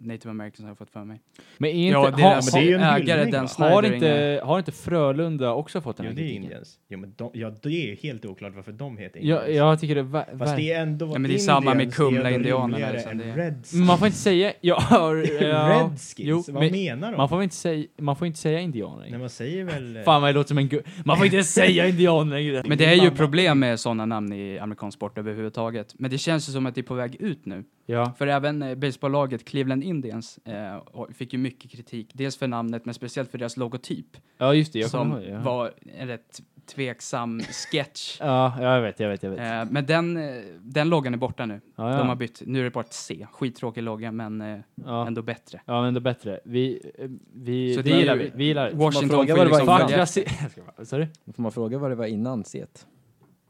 S3: Native Americans har jag fått för mig.
S1: Men är inte...
S3: Ja,
S1: har,
S3: deras
S4: men det är ju en
S3: ägare,
S4: hyllning,
S3: Dan
S4: va?
S1: har,
S3: Snyder,
S1: har,
S3: är-
S1: inte, har inte Frölunda också fått den
S4: Jo,
S1: här
S4: det är
S1: kritiken?
S4: Indians. Jo, men de, ja, det är ju helt oklart varför de heter
S1: Ja,
S4: Indians.
S1: jag tycker det... Va,
S4: Fast
S1: va,
S4: det är ändå...
S3: Ja, men det är samma med
S4: Indians, det är ändå
S3: Kumla-indianerna,
S4: rimligare
S3: liksom,
S4: än
S3: det är-
S4: Redskins.
S1: man får inte säga... Ja, ja, jo,
S4: Redskins? Vad
S1: men-
S4: menar de?
S1: Man får väl inte säga... Man får inte säga indianer.
S4: Nej, man säger väl... eh,
S1: Fan vad jag låter som en gu- Man får inte säga indian längre.
S3: Men det är ju problem med sådana namn i amerikansk sport överhuvudtaget. Men det känns ju som att det är på väg ut nu.
S1: Ja.
S3: För även eh, baseballlaget Cleveland Indians eh, och- fick ju mycket kritik. Dels för namnet, men speciellt för deras logotyp.
S1: ja, just det. Jag
S3: som
S1: kommer ihåg, ja.
S3: var en rätt tveksam sketch.
S1: Ja, jag vet, jag vet, jag vet.
S3: Eh, men den, eh, den loggan är borta nu.
S1: ja, ja.
S3: De har bytt. Nu är det bara ett C. Skittråkig logga, men eh,
S1: ja.
S3: ändå bättre.
S1: ja, men ändå bättre. Vi, eh, vi,
S3: Så
S1: vi
S3: det är
S1: gillar
S3: ju-
S1: vi, vi gillar det.
S3: Washington
S2: fråga
S3: får
S2: vad
S3: ju
S2: det var
S3: liksom
S2: innan?
S1: Fuck
S3: följa-
S1: rasism. Sa du?
S2: Får man fråga vad det var innan set?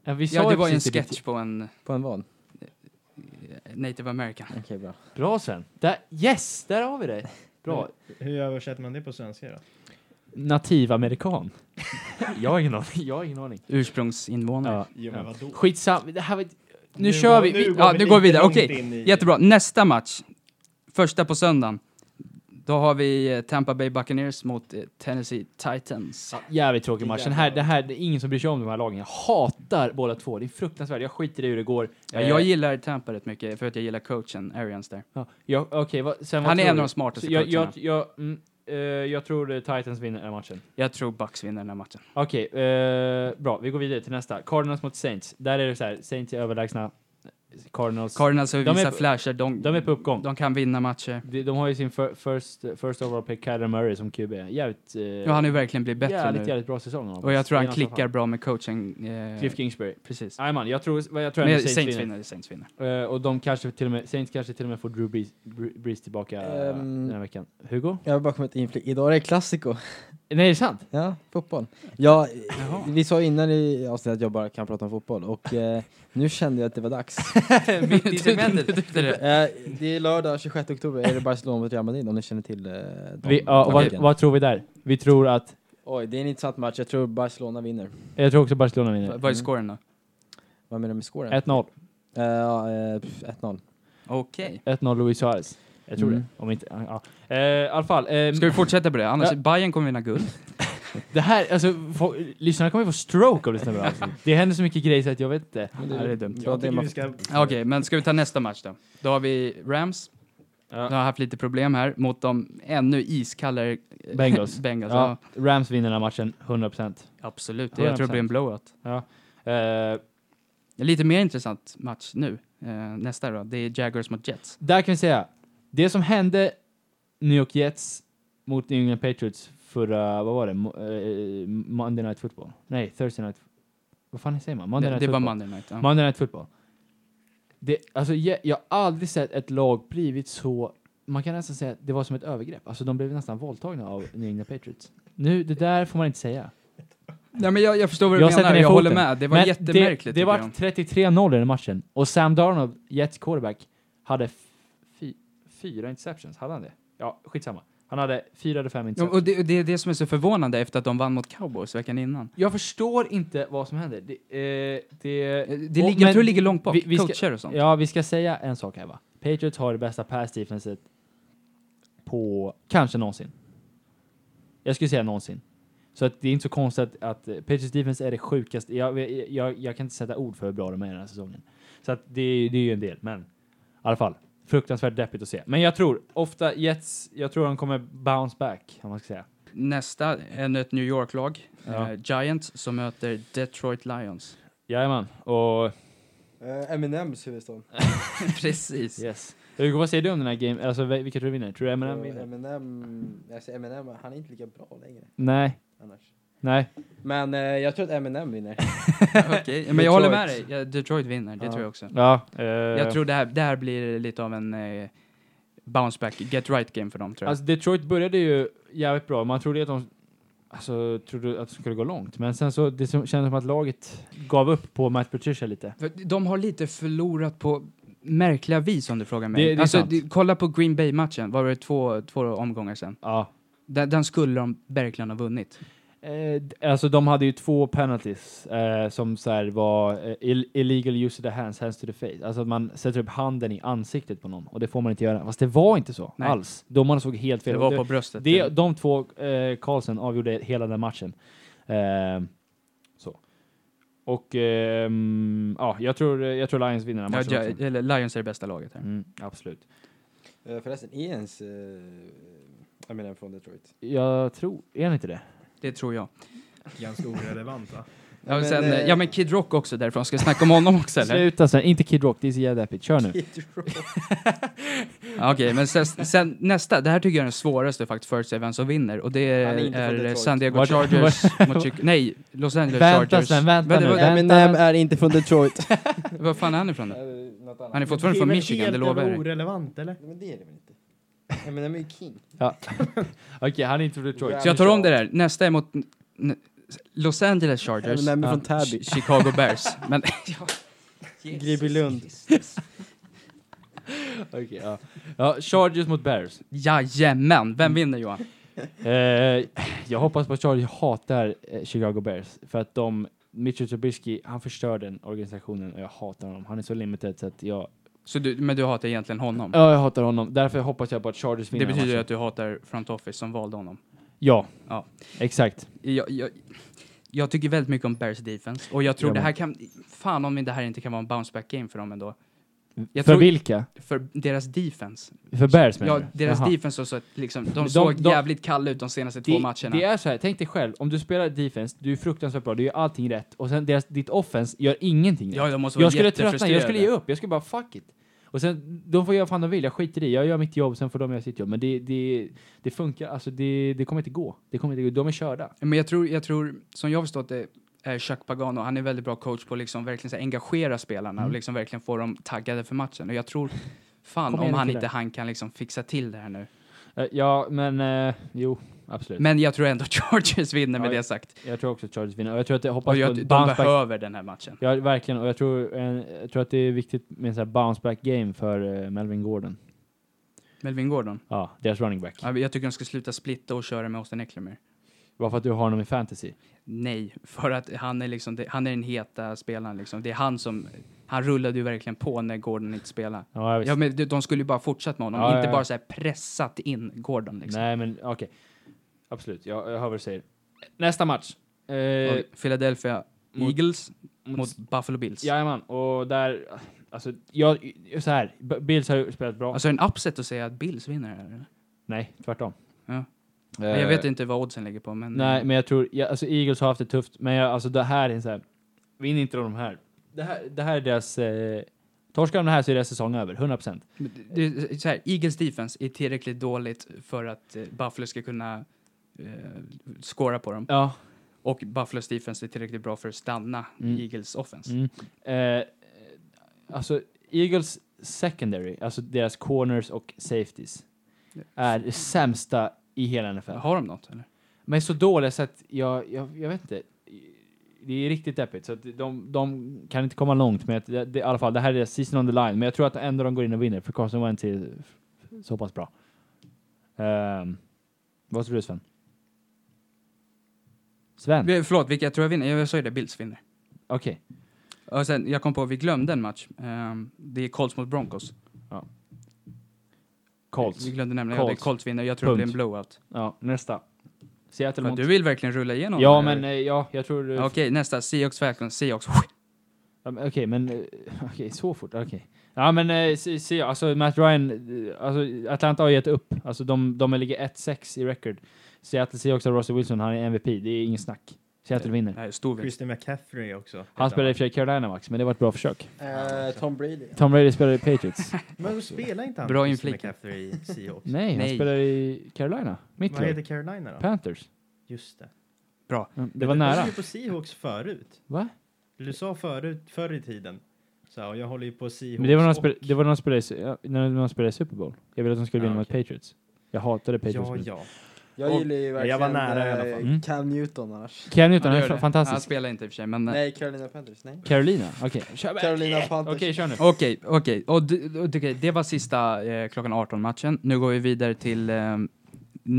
S1: Ja, vi sa
S3: Ja, det
S1: ju
S3: var ju en
S1: precis det.
S3: sketch på en eh,
S2: På en van?
S3: native american.
S2: Okej, bra.
S1: Bra Sven. Där, yes, där har vi dig. Bra.
S4: Hur översätter man det på svenska då?
S1: Nativamerikan. jag har ingen aning. Jag har ingen aning.
S3: Ursprungsinvånare.
S1: Ja,
S4: Jo,
S1: ja.
S4: men vadå?
S1: Skitsamma. Det här var, nu,
S4: Nu
S1: kör
S4: var-
S1: vi.
S4: nu
S1: vi
S4: går
S3: Ja,
S4: vi
S3: nu går vi
S4: lite
S3: vidare.
S4: långt
S3: Okej,
S4: in i-
S3: jättebra. Nästa match. Första på söndagen. Då har vi eh, Tampa Bay Buccaneers mot eh, Tennessee Titans.
S1: Ja, jävligt tråkig match. Den här, det här, det är ingen som bryr sig om de här lagen. Jag hatar båda två. Det är fruktansvärt. Jag skiter i hur det går.
S3: Ja,
S1: Eh,
S3: jag gillar Tampa rätt mycket för att jag gillar coachen Arians där.
S1: ja, jag, okej, vad, sen vad
S3: Han är
S1: tror
S3: en
S1: du?
S3: av de smartaste
S1: Så jag, jag,
S3: coacherna.
S1: jag, mm, eh, jag tror eh, Titans vinner den här matchen.
S3: Jag tror Bucks vinner den här matchen.
S1: Okej, eh, bra. Vi går vidare till nästa. Cardinals mot Saints. Där är det så här, Saints är överlägsna. Cardinals,
S3: Cardinals har ju
S1: De är
S3: vissa
S1: på-
S3: flasher. De,
S1: de är på uppgång.
S3: de kan vinna matcher.
S1: De, de har ju sin fir- first, first overall pick, Kyler Murray, som QB. Jävligt, eh,
S3: Nu har han ju verkligen blivit bättre
S1: jävligt,
S3: nu.
S1: jävligt bra säsong. han har
S3: Och jag tror han
S1: spelat som fan.
S3: klickar bra med coachen. Eh,
S1: Cliff Kingsbury.
S3: precis.
S1: Jajamän, jag tror, vad jag tror
S3: Men
S1: ändå
S3: Saints, vinner. Saints vinner.
S1: Eh, och de kanske till och med, Saints kanske till och med får Drew Brees, Bre- Brees tillbaka eh,
S2: Ehm.
S1: den här veckan. Hugo?
S2: Jag har bara kommit in Idag är det Classico.
S1: Nej, är det sant?
S2: Ja, fotboll. Ja,
S3: Jaha.
S2: vi sa innan i avsnittet att jag bara kan prata om fotboll och eh, nu kände jag att det var dags.
S3: Mitt i segmentet.
S2: Eh, det är lördag 26 oktober, är det Barcelona mot Real Madrid om ni känner till eh, dem.
S1: Vi, ja, och vad,
S2: Okej.
S1: vad tror vi där? Vi tror att,
S2: Oj, det är en intressant match. Jag tror Barcelona vinner.
S1: jag tror också Barcelona vinner.
S3: Vad är scoren då?
S2: Vad menar du med scoren?
S1: 1-0.
S2: Eh, ja, eh, pff, 1-0.
S3: Okej.
S1: 1-0 Luis Suarez. Jag tror
S2: Mm.
S1: det. Om inte, ja. Eh, I alla fall, eh,
S3: Ska vi fortsätta på det? Annars,
S1: Ja.
S3: Bayern kommer vinna guld.
S1: det här, alltså, få, lyssnarna kommer ju få stroke av det här avsnittet. Det händer så mycket grejer så att jag vet inte.
S2: Men
S3: Ja, det är dumt.
S2: bra
S4: Jag tycker
S2: man-
S4: vi ska...
S3: Okej, men ska vi ta nästa match då? Då har vi Rams. De har haft lite problem här mot de ännu iskallare eh,
S1: Bengals.
S3: Bengals.
S1: Ja,
S3: Ja.
S1: Rams vinner den här matchen, 100%.
S3: absolut. Jag tror det blir en blowout.
S1: Eh,
S3: En lite mer intressant match nu. Eh, nästa då. Det är Jaguars mot Jets.
S1: Där kan vi säga, det som hände New York Jets mot New England Patriots förra, vad var det, Mo- eh, Monday Night Football? Nej, Thursday Night. Vad fan säger man? Monday
S3: det
S1: Night
S3: det var
S1: Football.
S3: Monday night. Ja.
S1: Monday Night Football. Det, alltså, jag, jag har aldrig sett ett lag blivit så, man kan nästan säga att det var som ett övergrepp. Alltså de blev nästan våldtagna av New England Patriots. Nu, det där får man inte säga.
S3: Nej, men jag, jag förstår vad du
S1: Jag sätter
S3: menar.
S1: ner
S3: Jag håller
S1: foten.
S3: med. Det var
S1: Men
S3: jättemärkligt.
S1: Det,
S3: tycker
S1: det var
S3: jag.
S1: 33-0 i den matchen. Och Sam Darnold, Jets quarterback, hade f- fy, fyra interceptions. Hade han det? Ja, skitsamma. Han hade fyra eller fem
S3: Ja,
S1: interceptions.
S3: och det, det är det som är så förvånande efter att de vann mot Cowboys veckan innan.
S1: jag förstår inte vad som händer. Det, eh, det,
S3: Eh, Det
S1: och-
S3: ligger, jag
S1: men-
S3: tror det ligger långt bak.
S1: vi- vi ska-
S3: Coacher och sånt.
S1: Ja, vi ska säga en sak här va. Patriots har det bästa pass defenset på kanske någonsin. Jag skulle säga någonsin. Så att det är inte så konstigt att, att eh, Patriots defense är det sjukaste. Jag, jag, jag, jag kan inte sätta ord för hur bra de är den här säsongen. Så att det, är- det är ju en del, men i alla fall. Fruktansvärt deppigt att se. Men jag tror ofta Jets, jag tror de kommer bounce back, om man ska säga.
S3: Nästa, ännu ett New York-lag.
S1: Ja.
S3: Eh, Giants som möter Detroit Lions.
S1: Jajamän, och
S2: Eh, Eminems huvudstad.
S3: Precis.
S1: yes. Hugo, vad säger du om den här game? Alltså vil- vilka tror du vinner? Tror du M&M
S2: Och
S1: vinner?
S2: Eh, Eminem, alltså Eminem, han är inte lika bra längre
S1: Nej,
S2: annars.
S1: nej.
S2: Men eh, jag tror att Eminem vinner.
S3: Okej, Men jag håller med dig.
S2: Detroit.
S3: Ja, Detroit vinner, det
S2: Ja.
S3: tror jag också.
S1: Ja,
S3: Jag
S1: eh,
S3: tror det här, det här blir lite av en eh, bounce back, get right game för dem tror jag.
S1: Alltså Detroit började ju jävligt bra. Man trodde att de alltså, trodde att de skulle gå långt. Men sen så det som, kändes som att laget gav upp på Matt Patricia lite.
S3: För de har lite förlorat på märkliga vis om du frågar mig.
S1: Det- det är
S3: alltså,
S1: sant.
S3: du- kolla på Green Bay-matchen, var det två, två omgångar sedan?
S1: Ja.
S3: Den, den skulle de verkligen ha vunnit.
S1: Eh, d- alltså de hade ju två penalties eh, som så här var eh, ill- illegal use of the hands, hands to the face. Alltså att man sätter upp handen i ansiktet på någon och det får man inte göra. Fast det var inte så
S3: Nej.
S1: alls. Domarna såg helt fel.
S3: Det
S1: Och
S3: var på bröstet.
S1: det, de två, eh, Karlsson, avgjorde hela den matchen. Ehm, så. Och ehm, ja, jag tror, jag tror Lions vinner den här
S3: ja,
S1: matchen
S3: ja,
S1: också.
S3: eller Lions är det bästa laget här.
S1: Mm, absolut.
S2: Eh, förresten, är ens eh, Eminem från Detroit?
S1: Jag tror, är han inte det?
S3: Det tror jag.
S4: ganska orelevanta.
S3: Ja, men, sen,
S2: Men,
S3: eh,
S2: eh,
S3: ja, men Kid Rock också därifrån. Ska jag snacka om honom också eller?
S1: Sluta sen, inte Kid Rock, det är så jävla deppigt. Kör nu.
S3: Ja, Okej, men sen, sen nästa. Det här tycker jag är den svåraste faktiskt förutsäga vem som vinner. Och det
S2: Han är inte
S3: är,
S2: från
S3: är
S2: Detroit.
S3: San Diego
S1: Vart-
S3: Chargers mot Chic- Nej, Los Angeles
S1: Vänta
S3: Chargers.
S1: sen, vänta
S3: Men det
S1: nu.
S3: var-
S1: Vänta,
S2: Eminem
S1: vänta.
S2: är inte från Detroit.
S3: Vad fan är han ifrån då?
S2: Eh,
S3: Han är fortfarande från Michigan, det lovar jag
S4: jag.
S3: dig.
S4: orelevant eller?
S2: Men det är det väl inte? Eminem är ju king.
S1: Ja. Okej, han är inte från Detroit.
S3: Så jag tar om det där. Nästa är mot n- Los Angeles Chargers.
S2: Eminem är
S1: Ja.
S2: från Täby.
S3: Chi- Chicago Bears. Men
S2: Gribbylund.
S1: Okej, ja. ja, Chargers mot Bears.
S3: jajamän, vem vinner Johan?
S1: Eh, jag hoppas på att Chargers hatar eh, Chicago Bears för att de, Mitchell Trubisky, han förstör den organisationen och jag hatar honom. Han är så limited så att jag,
S3: Så du, men du hatar egentligen honom?
S1: ja, jag hatar honom. Därför hoppas jag på att Chargers vinner.
S3: Det
S1: den
S3: betyder ju
S1: matchen.
S3: att du hatar Front Office som valde honom.
S1: Ja.
S3: Ja.
S1: Exakt.
S3: Jag, jag, jag tycker väldigt mycket om Bears defense och jag tror
S1: Jag
S3: det
S1: med.
S3: här kan... Fan om det här inte kan vara en bounce back game för dem ändå. Jag
S1: för
S3: tror-
S1: vilka?
S3: För deras defense.
S1: För Bears menar
S3: Ja,
S1: du?
S3: deras
S1: Jaha.
S3: defense och så att liksom, de
S1: de-
S3: såg
S1: de-
S3: jävligt kalla ut de senaste två matcherna.
S1: det är så här, tänk dig själv, om du spelar defense, du är fruktansvärt bra, du gör allting rätt, och sen deras, ditt offense gör ingenting rätt.
S3: ja, de måste vara
S1: jag skulle tröttna, jag
S3: jättefrustrerade.
S1: skulle ge upp, jag skulle bara fuck it. Och sen, de får göra vad fan de vill, jag skiter i, jag gör mitt jobb, sen får de göra sitt jobb. Men det, det, det funkar, alltså det, det kommer inte gå. Det kommer inte gå, de är körda.
S3: Men jag tror, jag tror, som jag har förstått det, är Chuck Pagano, han är väldigt bra coach på att liksom verkligen så här, engagera spelarna
S1: Mm.
S3: och liksom verkligen få dem taggade för matchen. Och jag tror, fan
S1: Kom
S3: om
S1: igen nu,
S3: han
S1: killar.
S3: inte han kan liksom fixa till det här nu.
S1: Eh, Ja, men eh, jo, absolut.
S3: Men jag tror ändå Chargers vinner med
S1: Ja,
S3: det sagt.
S1: Jag tror också att Chargers vinner, och jag tror att jag hoppas
S3: Och
S1: på
S3: jag,
S1: en
S3: de
S1: bounce back.
S3: behöver den här matchen.
S1: Ja, verkligen, och jag tror, eh, jag tror att det är viktigt med en sån här bounce back game för eh, Melvin Gordon.
S3: Melvin Gordon.
S1: Ja, deras running back.
S3: Ja, Jag tycker de ska sluta splitta och köra med Austin Eckler
S1: Bara för att du har honom i fantasy.
S3: Nej, för att han är liksom, det- han är den heta spelaren liksom. Det är han som, han rullade ju verkligen på när Gordon inte spelade.
S1: Ja, jag visst.
S3: Ja, men de- de skulle ju bara fortsatt med honom,
S1: Ja,
S3: inte
S1: ja, ja.
S3: bara så här pressat in Gordon liksom.
S1: Nej, men okej. Absolut, jag, jag hör vad du säger. Nästa match. Eh,
S3: Och Philadelphia
S1: mot-
S3: Eagles
S1: mot-
S3: mot, Buffalo Bills.
S1: Jajamän, och där... Alltså, jag... Så här, B- Bills har ju spelat bra.
S3: Alltså är det en upset att säga att Bills vinner här eller?
S1: nej, tvärtom.
S3: Ja.
S1: Eh,
S3: jag vet inte vad oddsen ligger på men... eh,
S1: Nej, men jag tror... Jag, alltså, Eagles har haft det tufft, men jag, alltså det här är så här... Vinner inte de här. Det här, det här är deras... Eh, torskar de det här så är deras säsong över, 100%.
S3: Men det, det, är så här, Eagles defense är tillräckligt dåligt för att eh, Buffalo ska kunna eh, scora på dem.
S1: Ja.
S3: Och Buffalo's defense är tillräckligt bra för att stanna
S1: Mm.
S3: Eagles offense.
S1: Mm. Eh, alltså, Eagles secondary, alltså deras corners och safeties, är det sämsta i hela NFL.
S3: Har de något eller?
S1: Men så dåliga så att jag, jag, jag vet inte. Det är riktigt deppigt, så att de, de kan inte komma långt med att, det, det, i alla fall, det här är season on the line, men jag tror att ändå de går in och vinner, för Carson Wentz är så pass bra. Ehm, vad tror du Sven? Sven?
S3: Vi- Förlåt, vilka jag tror jag vinner? Jag sa ju det, Bills vinner.
S1: Okej.
S3: Och sen, jag kom på att vi glömde en match. Ehm, det är Colts mot Broncos.
S1: Colts.
S3: Vi glömde nämligen, Colts. ja det är
S1: Colts.
S3: Colts vinner. Jag tror det blir en
S1: Punkt.
S3: blowout.
S1: Ja, nästa. Seattle
S3: Fan,
S1: mot...
S3: du vill verkligen rulla igenom
S1: Ja,
S3: det här.
S1: men eh, ja, jag tror... eh,
S3: Okej, nästa. Seahawks Falcons. Seahawks.
S1: Ja, men Okej, men eh, okej, så fort, okej. Ja, men eh, se, se, alltså Matt Ryan, eh, alltså Atlanta har gett upp. Alltså de, de ligger 1-6 i record. Seattle ser också Russell Wilson, han är MVP, det är ingen snack. Seattle vinner.
S3: Nej, stor vinst.
S4: Christian McCaffrey också.
S1: Han spelade i och för sig Carolina Max, men det var ett bra försök.
S2: Eh, Tom Brady.
S1: Tom Brady spelar i Patriots.
S4: Men spelar inte han
S3: Bra
S4: Christian
S3: inflik.
S4: McCaffrey i Seahawks?
S1: Nej, han
S3: Nej.
S1: spelar i Carolina. Mitt
S4: Vad
S1: lag.
S4: heter Carolina då?
S1: Panthers.
S4: Just det.
S1: Mm, Det
S4: Men
S1: var
S4: du- Du
S1: nära.
S4: höll ju på Seahawks förut.
S1: Va?
S4: Du sa förut, förr i tiden. Så här, och jag håller ju på Seahawks
S1: Men det var när de
S4: och-
S1: spelade, det var när de spelade, i Su- ja, när de spelade i Super Bowl. Jag ville att de skulle vinna
S4: Ja,
S1: mot Patriots. Jag hatade Patriots.
S4: Ja,
S1: men-
S4: ja.
S2: Jag
S4: Och-
S2: gillar ju
S4: Ja,
S2: verkligen
S4: jag var nära i alla fall.
S2: eh,
S1: Mm.
S2: Cam Newton annars.
S1: Cam Newton,
S3: Ja,
S1: han
S3: det
S1: är
S3: gör det.
S1: fa-
S3: Han
S1: fantastisk.
S3: spelar inte i och för sig, men... eh,
S2: Nej,
S3: Nej.
S2: Carolina Panthers. Nej.
S1: Carolina, okej. Kör bara.
S2: Carolina
S1: Okej,
S2: Panthers.
S1: kör nu.
S3: Okej, okej. Och d- d- okej, det var sista eh, klockan 18-matchen. Nu går vi vidare till eh,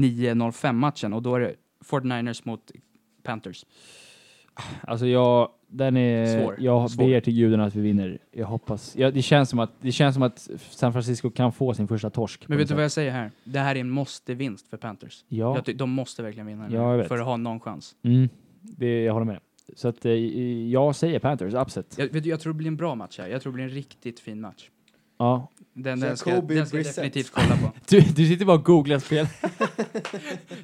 S3: 9.05-matchen och då är det 49ers mot Panthers.
S1: Alltså jag, den är,
S3: Svår.
S1: jag
S3: Svår.
S1: ber till gudarna att vi vinner. Jag hoppas. Ja, det, känns som att, det känns som att San Francisco kan få sin första torsk.
S3: Men
S1: på
S3: vet du
S1: något
S3: vad
S1: sätt.
S3: jag säger här? Det här är en måste-vinst för Panthers.
S1: Ja,
S3: Jag ty- de måste verkligen vinna den
S1: Ja,
S3: här
S1: jag vet.
S3: för att ha någon chans.
S1: mm, det, jag håller med. Så att eh, jag säger Panthers, upset.
S3: Jag, vet du, jag tror det blir en bra match här. Jag tror det blir en riktigt fin match.
S1: Ja.
S3: Den,
S2: Så
S3: den ska,
S2: Jacoby
S3: den ska jag
S2: Brissett.
S3: definitivt kolla på.
S1: Du, du sitter bara och googlar spel.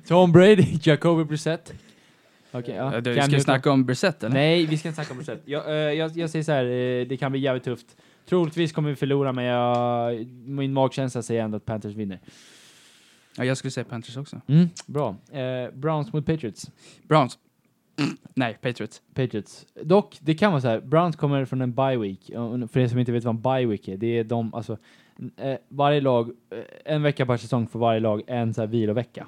S1: Tom Brady, Jacoby Brissett. Okej, ja.
S3: Du,
S1: Cam
S3: ska vi
S1: Newton.
S3: snacka om Brissett eller?
S1: Nej, vi ska inte snacka om procent. Jag, eh, jag, jag säger så här, eh, det kan bli jävligt tufft. Troligtvis kommer vi förlora, men jag, min magkänsla säger ändå att Panthers vinner.
S3: Ja, jag skulle säga Panthers också.
S1: Bra. Eh, Browns mot Patriots.
S3: Browns. Nej, Patriots.
S1: Patriots. Dock, det kan vara så här. Browns kommer från en bye week. Och För er som inte vet vad en bye week är, det är de, alltså, eh, varje lag, eh, en vecka per säsong för varje lag, en så här vilovecka.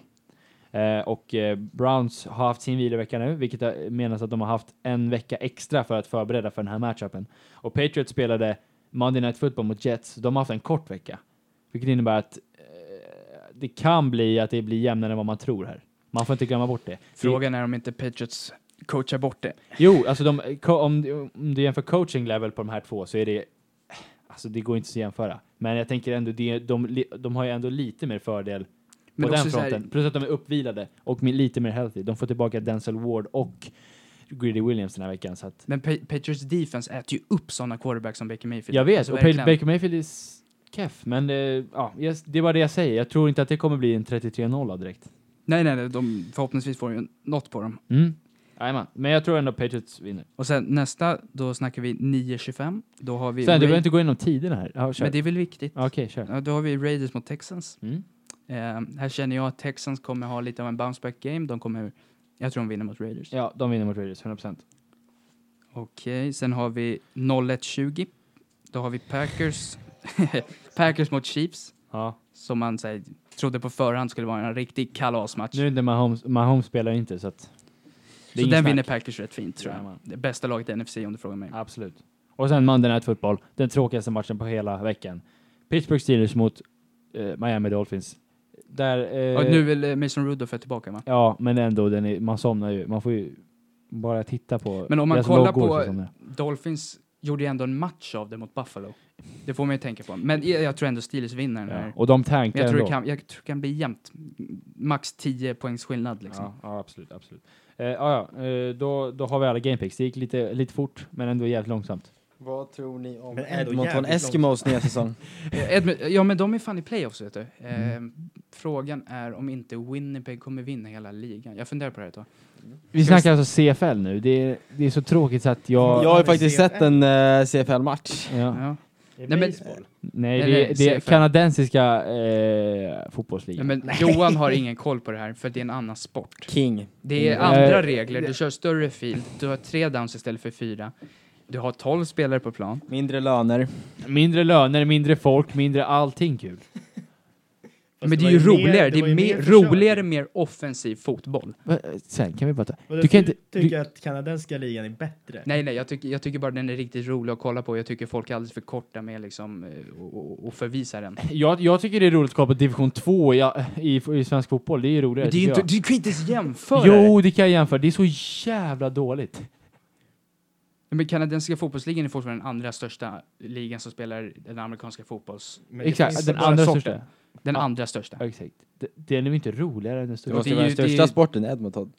S1: Eh, och eh, Browns har haft sin vilovecka nu, vilket eh, menas att de har haft en vecka extra för att förbereda för den här matchupen. Och Patriots spelade Monday Night Football mot Jets, så de har haft en kort vecka. Vilket innebär att eh, det kan bli att det blir jämnare än vad man tror här. Man får inte glömma bort det. det
S3: Frågan är om inte Patriots coachar bort det.
S1: Jo, alltså de, ko- om, om du jämför coaching level på de här två så är det... Alltså det går inte att jämföra. Men jag tänker ändå, det, de, li- de har ju ändå lite mer fördel
S3: Men
S1: på den
S3: också så här-
S1: fronten. Plus att de är uppvilade och med lite mer healthy. De får tillbaka Denzel Ward och Greedy Williams den här veckan. Så att,
S3: Men pa Patriots defense äter ju upp sådana quarterbacks som Baker Mayfield.
S1: jag vet,
S3: Alltså,
S1: och
S3: verkligen.
S1: Pa- Baker Mayfield är s- keff. Men eh, ja, yes, det var det jag säger. Jag tror inte att det kommer bli en 33-0 direkt.
S3: Nej, nej, nej. De, förhoppningsvis får ju något på dem.
S1: Mm. Jajamän. Men jag tror ändå Patriots vinner.
S3: Och sen nästa, då snackar vi 9-25. Då har vi...
S1: Sen, du
S3: Ra-
S1: behöver inte gå igenom tiderna här. Ja, kör.
S3: Men det är väl viktigt?
S1: Okej, kör.
S3: Ja, då har vi Raiders mot Texans.
S1: Mm.
S3: Eh, här känner jag att Texans kommer ha lite av en bounce back game. De kommer... Jag tror de vinner mot Raiders.
S1: Ja, de vinner mot Raiders, 100%.
S3: Okej, sen har vi 01-20. Då har vi Packers. Packers mot Chiefs.
S1: Ja.
S3: Som man så här, trodde på förhand skulle vara en riktig kalasmatch.
S1: Nu är det inte Mahomes, Mahomes spelar ju inte så att...
S3: så
S1: är
S3: den
S1: ingen snack.
S3: vinner Packers rätt fint tror jag.
S1: Jajamän.
S3: Det bästa laget i NFC om du frågar mig.
S1: Absolut. Och sen Monday Night Football, den tråkigaste matchen på hela veckan. Pittsburgh Steelers mot eh, Miami Dolphins. Där... Eh,
S3: Ja, nu vill eh, Mason Rudolph är tillbaka va?
S1: ja, men ändå, den är, man somnar ju. Man får ju bara titta på
S3: Men om man
S1: deras
S3: kollar
S1: loggor
S3: på-
S1: så somnar jag.
S3: Dolphins gjorde ju ändå en match av det mot Buffalo. Det får man ju tänka på. Men jag, jag tror ändå Steelers vinner den här.
S1: Ja. Och de
S3: Men
S1: tankar
S3: jag tror,
S1: ändå.
S3: det kan, jag tror det kan bli jämnt. Max 10 poängs skillnad liksom.
S1: ja, ja, absolut. absolut. Eh, ja, ja, eh, då, då har vi alla gamepics. Det gick lite, lite fort, men ändå jävligt långsamt.
S2: Vad tror ni om
S4: Men ändå
S2: Edmonton
S4: jävligt långt.
S2: Eskimos nya säsong?
S3: Eh, Edmund, ja men de är fan i playoffs vet du.
S1: Mm.
S3: Eh, Frågan är om inte Winnipeg kommer vinna hela ligan. Jag funderar på det här ett tag.
S1: Vi
S3: Ska vi
S1: snackar alltså CFL nu. Det är, det är så tråkigt så att jag...
S2: Jag har ju faktiskt
S4: CFL.
S2: sett en eh, CFL-match.
S1: Ja.
S3: Ja.
S4: Det är
S3: Nej, men-
S4: baseball.
S1: Nej,
S3: Nej,
S1: det,
S3: nej,
S1: det är
S3: CFL.
S1: kanadensiska eh, fotbollsligan.
S3: Men Johan har ingen koll på det här för det är en annan sport.
S2: King.
S3: Det är
S1: Mm.
S3: andra
S1: Eh,
S3: regler. Du kör större field. Du har tre downs istället för fyra. Du har 12 spelare på plan.
S2: Mindre löner.
S1: Mindre löner, mindre folk, mindre allting kul.
S4: Fast
S3: men det
S4: var
S3: är ju
S4: mer-
S3: roligare. Det
S4: var
S3: är
S4: ju
S3: mer,
S4: försök.
S3: roligare, mer offensiv fotboll.
S1: Va, eh, Sen kan vi bara ta...
S4: Vadå,
S1: Du kan inte... Du,
S4: tycker att kanadensiska ligan är bättre?
S3: Nej, nej, jag tycker, jag tycker bara den är riktigt rolig att kolla på. Jag tycker folk är alldeles för korta med liksom eh, och, och, och förvisa den.
S1: jag, jag tycker det är roligt att kolla på division 2 i, i, i svensk fotboll. Det är ju roligare.
S3: Men det är ju
S1: tycker
S3: inte, du kan ju inte ens jämföra
S1: jag.
S3: det.
S1: Jo, det kan jag jämföra. Det är så jävla dåligt.
S3: Men kanadensiska fotbollsligan är fortfarande den andra största ligan som spelar den amerikanska fotbolls...
S4: Men det
S1: Exakt,
S4: finns
S1: den
S4: bara
S1: andra
S3: sorten.
S1: största.
S3: Den
S1: Ja.
S3: andra största.
S1: Ja, Exakt. D- Den är ju inte roligare än den
S2: Det
S1: största.
S2: måste
S3: det är
S2: vara den
S3: ju- det är-
S2: största sporten, Edmonton.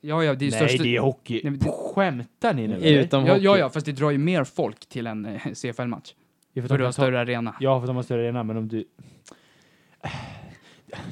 S3: Ja, ja, det är
S1: Nej,
S3: största...
S1: det är hockey.
S3: Nej, men det-
S1: Skämtar ni nu? eller?
S2: Utom
S3: ja,
S2: hockey.
S3: ja, ja, fast det drar ju mer folk till en eh, CFL-match.
S1: Det är för att de
S3: För du har
S1: kan ta-
S3: större arena.
S1: Ja, för att de har större arena, men om du...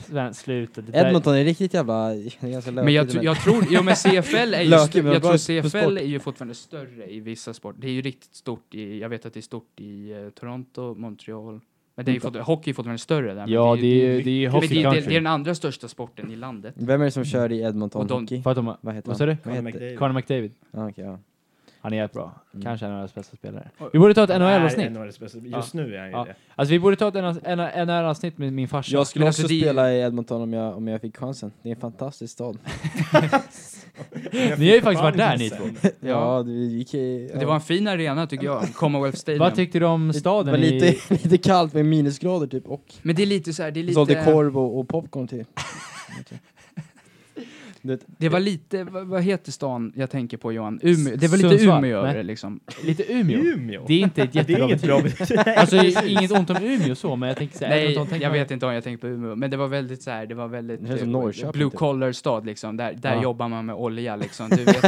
S1: Sven, sluta. Det där-
S2: Edmonton är riktigt jävla... Ganska lökigt,
S3: Men jag, tr- jag tror... Jo, men CFL är ju...
S2: Lökigt,
S3: stö-
S2: men
S3: jag
S2: bra
S3: tror
S2: på sport.
S3: CFL är ju fortfarande större i vissa sporter. Det är ju riktigt stort i... Jag vet att det är stort i eh, Toronto, Montreal. Men det är ju fort, hockey är fortfarande större där. men
S1: Mm. Ja, det är ju
S3: mycket-
S1: det är ju
S3: men det,
S1: hockey
S3: det, det är
S1: country.
S3: den andra största sporten i landet.
S2: Vem är det som kör i Edmonton
S3: Och de-
S2: hockey?
S1: För att de har...
S2: Vad heter
S1: Vad sa du?
S4: Conor
S2: Vad heter-
S4: McDavid.
S1: Conor McDavid.
S2: Ah, okej, ja.
S1: Han är jättebra.
S2: Mm.
S1: Kanske en av deras bästa spelare.
S3: Och-
S1: Vi borde ta ett
S4: Han är
S1: NHL-avsnitt.
S4: NHL:s bästa. Just nu är han ju
S1: Ja.
S4: det.
S1: Alltså vi borde ta ett NHL-avsnitt med min farsa.
S2: Jag skulle
S3: Men
S2: också
S3: alltså, det-
S2: spela i Edmonton om jag, om jag fick chansen. Det är en fantastisk stad.
S1: Ni har ju faktiskt varit där ni två.
S4: Chansen.
S2: Ja, det gick i, ja.
S3: Det var en fin arena tycker jag, Commonwealth Stadium.
S1: Vad tyckte du om
S2: det
S1: staden
S2: var lite,
S1: i...
S2: lite kallt med minusgrader typ och
S3: Men det är lite så här, det är
S2: sålde
S3: lite...
S2: korv och, och popcorn till. det,
S3: Det var lite, vad, vad heter stan jag tänker på Johan? Umeå. Det var lite
S1: Sundsvall,
S3: Umeå över
S1: nej.
S3: det liksom.
S1: Lite Umeå?
S4: Umeå?
S1: Det är inte ett
S4: Det är
S1: jättebra
S4: inget
S1: betyg.
S4: bra betyg.
S1: Alltså inget ont om Umeå så, men jag tänker såhär...
S3: Nej, jag vet inte om jag tänker på Umeå, men det var väldigt så här, det var väldigt
S2: Det känns som
S3: eh,
S2: Norrköping,
S3: blue
S2: typ.
S3: collar stad liksom. Där, där
S1: Ja.
S3: jobbar man med olja liksom. Du vet.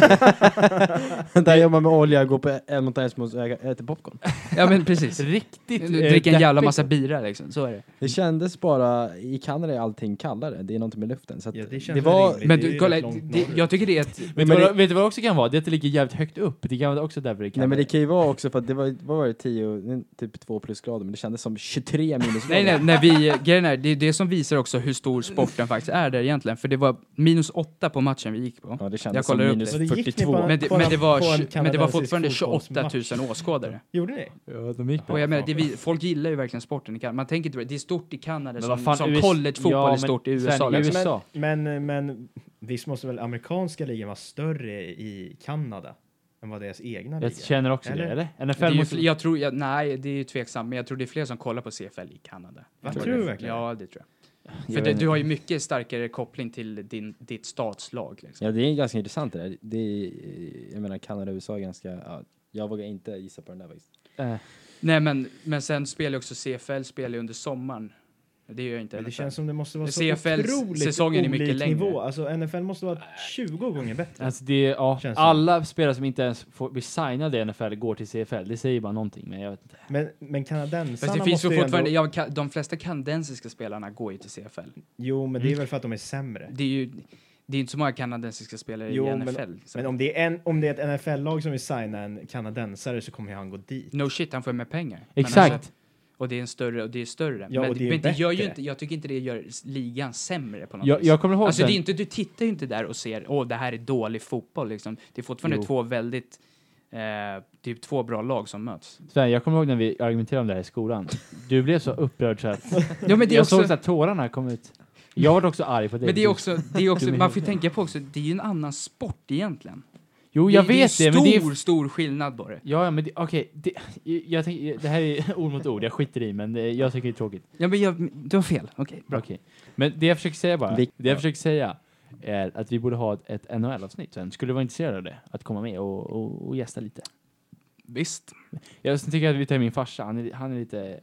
S2: där jobbar man med olja, går på Edmonton Eskimos och äga- äter popcorn.
S3: ja men precis.
S1: Riktigt... eh,
S3: Dricka en jävla
S1: deppigt.
S3: massa bira liksom, så är det.
S2: Det kändes bara, i Kanada är allting kallare, det är någonting med luften. Så att
S4: Ja, det känns
S2: det var,
S4: rimligt.
S3: Men
S4: Det är
S3: du,
S4: ju
S3: kolla,
S4: rätt långt
S3: det,
S4: norrut.
S3: jag tycker det är ett...
S1: Vet,
S2: Men
S1: du vad,
S2: det-
S1: vet du vad det också kan vara? Det att det ligger jävligt högt upp. Det kan vara också därför det kan
S2: Nej men det kan ju vara också för att det var, vad var det, 10, typ 2 plusgrader, men det kändes som 23 minusgrader.
S3: Nej, nej, nej, vi, grejen är, det är det som visar också hur stor sporten faktiskt är där egentligen. För det var minus åtta på matchen vi gick på.
S2: Ja, det kändes
S3: Jag
S2: som
S3: kollar upp
S2: minus
S4: det. Så det gick ni
S2: 42.
S4: bara-
S3: Men det,
S4: På en-
S3: men det, var,
S4: på en
S3: tj- men det var
S4: kanadensisk
S3: fortfarande 28
S4: fotbollsmatch.
S3: 000 åskådare.
S4: Gjorde ni?
S1: Ja, de gick
S3: Och jag menar, det, vi, folk gillar ju verkligen sporten i Kanada. Man tänker inte på det. Det är stort i Kanada
S1: Men
S3: som,
S1: vad fan,
S3: som
S1: US
S3: collegefotboll
S1: Ja,
S3: är stort i
S1: men
S3: USA.
S1: sen i
S3: liksom.
S1: USA.
S4: Men, men visst måste väl amerikanska ligan vara större i Kanada än vad deras egna
S1: Jag
S4: liga?
S1: känner också
S4: Eller?
S1: det, eller?
S3: Det är
S1: NFL
S3: ju,
S1: måste...
S3: fl- jag tror, jag, nej, det är ju tveksamt, men jag tror det är fler som kollar på CFL i Kanada.
S4: Vad
S3: Jag
S4: tror du verkligen?
S3: Ja, det tror jag.
S2: Jag
S3: För
S2: vet
S3: det,
S2: inte.
S3: du har ju mycket starkare koppling till din, ditt statslag. Liksom.
S2: Ja, det är ganska intressant det där. Det är, jag menar, Kanada och USA är ganska... Ja, jag vågar inte gissa på den där faktiskt.
S1: Eh,
S3: Nej, men, men sen spelar ju också CFL spelar ju under sommaren. Det gör ju inte
S4: Men det
S3: NFL.
S4: känns som det måste vara så
S3: CFL s-
S4: otroligt
S3: säsongen är mycket
S4: olik
S3: längre.
S4: nivå. Alltså NFL måste vara 20 gånger
S3: typ.
S4: bättre.
S1: Alltså det, ja,
S4: Känns som.
S1: alla spelare som inte ens får, blir signade i NFL går till CFL. Det säger bara någonting, men jag vet inte.
S4: Men, men
S3: Fast
S4: kanadensarna
S3: det finns
S4: måste
S3: ju
S4: ju
S3: fortfarande,
S4: ändå...
S3: ja, ka- de flesta kanadensiska spelarna går ju till CFL.
S4: Jo, men
S1: Mm.
S4: det är väl för att de är sämre.
S3: Det är ju det är inte så många kanadensiska spelare
S4: Jo,
S3: i
S4: men-
S3: NFL. så.
S4: Men om det är, en, om det är ett NFL-lag som vill signa en kanadensare så kommer ju han gå dit.
S3: No shit, han får ju mer pengar. Men alltså-
S1: Exakt!
S3: och det är en större, och det är större.
S4: Ja,
S3: men
S4: och det är
S3: men det gör ju
S4: bättre.
S3: inte, jag tycker inte det gör s- ligan sämre på något
S1: Jag,
S3: vis.
S1: jag kommer ihåg
S3: alltså
S1: sen-
S3: det är inte, du tittar ju inte där och ser, åh det här är dålig fotboll liksom. Det är fortfarande
S1: Jo.
S3: två väldigt, eh, typ två bra lag som möts.
S1: Sven, jag kommer ihåg när vi argumenterade om det här i skolan. Du blev så upprörd så att
S3: Ja, men det är
S1: jag såg
S3: också,
S1: så att tårarna kom ut. Jag var också arg på dig.
S3: men det är
S1: Du-
S3: också, det är också
S1: Du-
S3: man får ju tänka på också, det är ju en annan sport egentligen.
S1: Jo, jag
S3: det,
S1: vet
S3: det, är
S1: det,
S3: stor,
S1: men det är...
S3: stor skillnad på det.
S1: Ja, ja, men det- okej. det- jag- jag tänker- Det här är ord mot ord, jag skiter i, men det, jag tycker det är tråkigt.
S3: Ja, men jag, du har fel, okej. bra.
S1: Okej. Men det jag försöker säga bara,
S2: Vi-
S1: det jag försöker säga är att vi borde ha ett, ett NHL-avsnitt sen. Skulle du vara intresserad av det? Att komma med och, och, och gästa lite.
S3: Visst.
S1: Jag tycker att vi tar min farsa, han är, han är lite...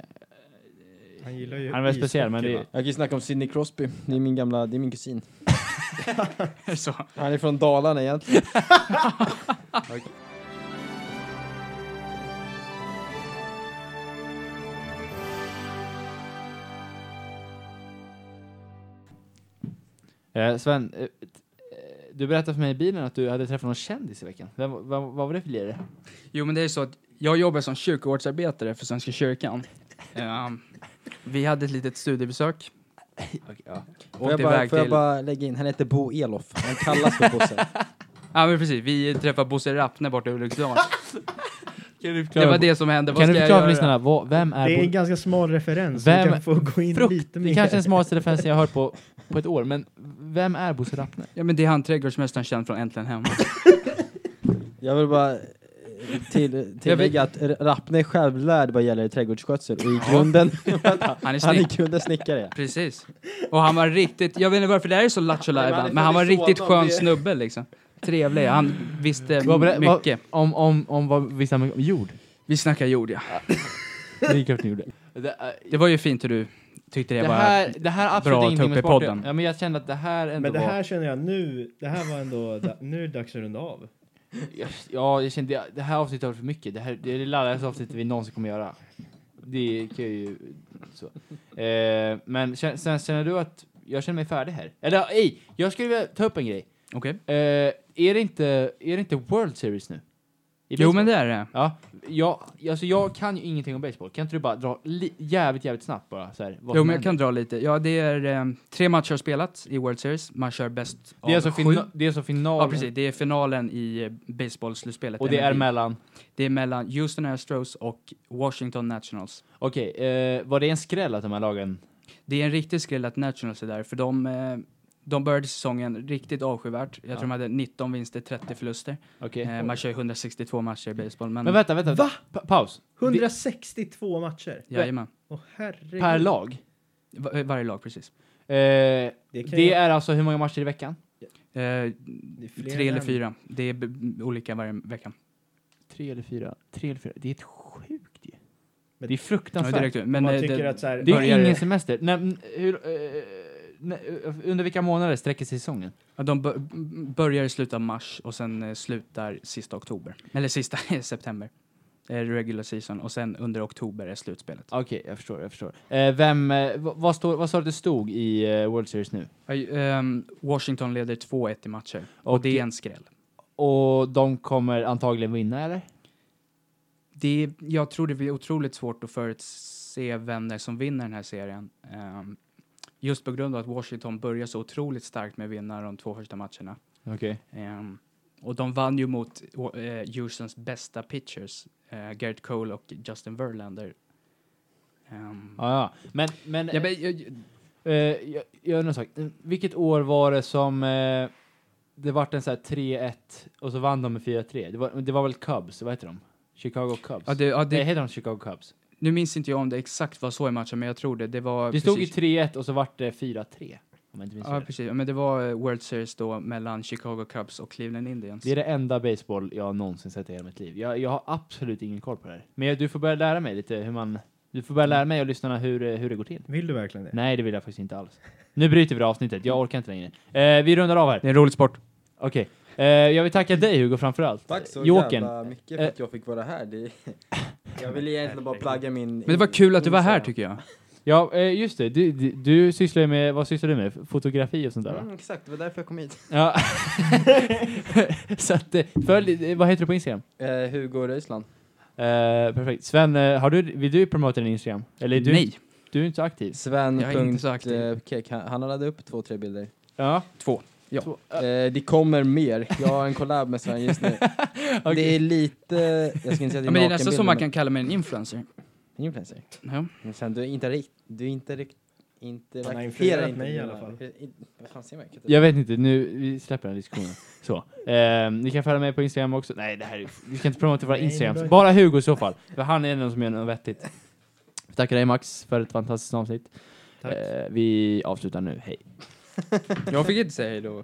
S4: Han gillar ju
S1: Han är väl speciell, men
S4: ishockey,
S1: det-
S4: va?
S2: Jag kan ju snacka om Sidney Crosby. Det är min gamla, det är min kusin.
S3: Så.
S2: Han är från Dalarna egentligen.
S1: Eh, Sven, eh, eh, du berättade för mig i bilen att du hade träffat någon kändis i veckan. Vem, vad, vad var det för lirare?
S3: Jo, men det är så att jag jobbar som kyrkogårdsarbetare för Svenska kyrkan. Ehm, vi hade ett litet studiebesök.
S2: Får jag,
S3: Åkte
S2: bara,
S3: iväg
S2: får jag
S3: till-
S2: bara lägga in, han heter Bo Elof. Han kallas för Bosse.
S3: Ja, men precis. Vi träffade Bosse Rappne borta i Ulriksdal.
S1: Kan du
S3: Det
S1: förklara,
S3: var det som hände. Vad
S1: kan du
S3: ska jag
S1: förklara för
S3: göra?
S1: lyssnarna, vad, vem är...
S4: Det är en
S1: Bo-
S4: ganska smal referens.
S1: Vem-
S4: Vi kan få gå in
S1: Frukt,
S4: lite
S1: det
S4: mer.
S1: är kanske är den smartaste referensen jag har hört på, på ett år, men vem är Bosse Rappne?
S3: Ja, men det är han trädgårdsmästaren känd från Äntligen Hemma.
S2: Jag vill bara eh, till, tillägga att R- Rappne är självlärd vad gäller trädgårdsskötsel och i grunden,
S3: Han är
S2: han är i
S3: snick.
S2: grunden snickare.
S3: Precis. Och han var riktigt, jag vet inte varför det här är så lattjo
S2: Nej, men han är
S3: men,
S2: från
S3: han var en riktigt
S2: Arizona,
S3: skön
S2: det-
S3: snubbe liksom. Trevlig, han visste
S1: Vad berä- vad-
S3: mycket.
S1: Om, om, om vad vissa om jord.
S3: Vi snackar jord, ja.
S1: Det är klart ni gjorde. Det,
S3: Det var ju fint hur du tyckte det,
S1: det,
S3: var...
S1: här, det här har absolut
S3: bra att ta
S1: ingenting
S3: upp
S1: med
S3: i
S1: sport
S3: podden.
S1: Ja, men jag kände att det här ändå
S4: Men det
S1: var...
S4: här känner jag nu, det här var ändå, da- nu är det dags att runda av.
S1: Ja, jag kände det här avsnittet har varit för mycket. Det här det är det laddaste avsnittet vi någonsin kommer göra. Det kan jag ju... Så. Eh, men kä- sen känner du att jag känner mig färdig här? Eller ej, jag skulle vilja ta upp en grej.
S3: Okej.
S1: Eh, är, det inte, är det inte World Series nu? I
S3: Jo,
S1: baseball?
S3: men det är det.
S1: Ja, jag, alltså jag kan ju ingenting om baseball. Kan inte du bara dra li- jävligt, jävligt snabbt bara så här, vad
S3: Jo,
S1: som
S3: men
S1: händer?
S3: jag kan dra lite. Ja, det är eh, tre matcher spelat i World Series. Man kör bäst
S1: Det är
S3: av
S1: alltså
S3: sju.
S1: fina- det är alltså finalen.
S3: Ja, precis. Det är finalen i eh, baseballslutspelet.
S1: Och det är
S3: MLB.
S1: mellan...
S3: Det är mellan Houston Astros och Washington Nationals.
S1: Okej, eh, var det en skräll att de här lagen...
S3: Det är en riktig skräll att Nationals är där, för de, eh, de började säsongen riktigt avskyvärt. Jag tror de hade 19 vinster, 30 förluster.
S1: Okej.
S3: Eh, man kör 162 matcher i baseball, men...
S1: Men vänta, vänta. vänta. Pa- paus.
S4: 162 matcher.
S3: Jajamän.
S4: Åh herregud.
S1: Per lag?
S3: Va- varje lag, precis.
S1: Eh,
S4: Det, kan
S1: det
S4: jag-
S1: är alltså hur många matcher i veckan?
S3: Eh,
S4: det är fler
S3: tre eller
S4: än-
S3: fyra. Det är b- olika varje vecka.
S1: Tre eller fyra. Tre eller fyra. Det är ett sjukt ju.
S4: Men-
S1: Det är
S3: Ja,
S1: fruktansvärt.
S3: direkt, men,
S4: Man
S3: eh,
S4: tycker
S3: det,
S4: att så här,
S1: det är
S3: Börjar
S1: ju ingen
S3: det-
S1: semester. När, n- hur, eh, när, under vilka månader sträcker sig säsongen?
S3: Ja, de bör- börjar i slutet av mars och sen eh, slutar sista oktober. Eller sista september. eh, regular season och sen under oktober är slutspelet.
S1: Okej, jag förstår, jag förstår. Eh, vem, eh, v- vad, står, vad sa du att det stod i eh, World Series nu?
S3: Aj, ehm, Washington leder 2-1 i matcher och,
S1: Och-
S3: det är en skräll.
S1: Och de kommer antagligen vinna, eller?
S3: Det, är- jag tror det blir otroligt svårt att förutse vem det är som vinner den här serien. Ehm, just på grund av att Washington börjar så otroligt starkt med att vinna de två första matcherna.
S1: Okej.
S3: Ehm, och de vann ju mot eh, Houstons bästa pitchers, eh, Garrett Cole och Justin Verlander. Ehm,
S1: Ja, ja. Men, men,
S3: ja, men, jag,
S1: eh, jag, jag undrar en sak. Eh, Vilket år var det som eh, det vart en så här 3-1 och så vann de med 4-3? Det var, det var väl Cubs, vad heter de? Chicago Cubs?
S3: ja, det, ja,
S1: Nej,
S3: det,
S1: heter de Chicago Cubs?
S3: nu minns inte jag om det exakt var så i matchen, men jag tror det. Det var
S1: Det stod ju
S3: precis-
S1: 3-1 och så vart det 4-3. Om jag inte minns
S3: Ja,
S1: fel.
S3: precis. Ja, Men det var eh, World Series då mellan Chicago Cubs och Cleveland Indians.
S1: Det är det enda baseball jag någonsin sett i hela mitt liv. Jag, jag har absolut ingen koll på det här. Men jag, du får börja lära mig lite hur man... Du får börja lära mig och lyssnarna hur, eh, hur det går till.
S4: Vill du verkligen det?
S1: Nej, det vill jag faktiskt inte alls. Nu bryter vi det avsnittet, jag orkar inte längre. Eh, vi rundar av här.
S3: Det är en rolig sport.
S1: Okej. Eh, jag vill tacka dig Hugo framförallt.
S2: Tack så
S1: Jokern.
S2: jävla mycket för att jag fick vara här. Det, jag ville egentligen bara plugga min...
S3: Men det var kul att du var här tycker jag.
S1: Ja, eh, just det. Du, du, du sysslar ju med, vad sysslar du med? Fotografi och sånt där va?
S2: Mm, exakt, det var därför jag kom hit.
S1: Ja. Så att, eh, följ, eh, vad heter du på Instagram?
S2: Eh, Hugo Röisland.
S1: Eh, perfekt. Sven, eh, har du, vill du promota din Instagram? Eller är du,
S3: Nej,
S1: du är inte så aktiv?
S2: Sven.
S3: Jag är inte så
S2: punkt,
S3: aktiv.
S2: eh, Kek. Han han laddade upp två, tre bilder.
S1: Ja.
S3: två. Ja.
S1: Så, eh,
S2: Eh, det kommer mer. Jag har en collab med Sven just nu. Det är lite... Jag ska inte säga att
S3: Ja, men det är nästan
S2: nakenbilder,
S3: som man
S2: men-
S3: kan kalla mig en influencer.
S2: Influencer.
S3: Ja.
S2: Men sen, du är inte rikt... Du är inte rikt... Inte
S4: Han har
S2: rakterar
S4: influerat
S2: inte
S4: mig i
S2: mina-
S4: alla fall.
S2: I- Vad fan ser man? Jag kan inte-
S1: Jag vet inte, nu vi släpper den här diskussionen. Så. Eh, ni kan följa mig på Instagram också. Nej, det här är, vi ska inte promota våra
S4: Nej, det
S1: Instagrams.
S4: bör-
S1: Bara Hugo i så fall. För han är den som gör något vettigt. Vi tackar dig Max för ett fantastiskt avsnitt.
S4: Tack.
S1: Eh, vi avslutar nu, hej.
S3: Jag fick inte säga hej då.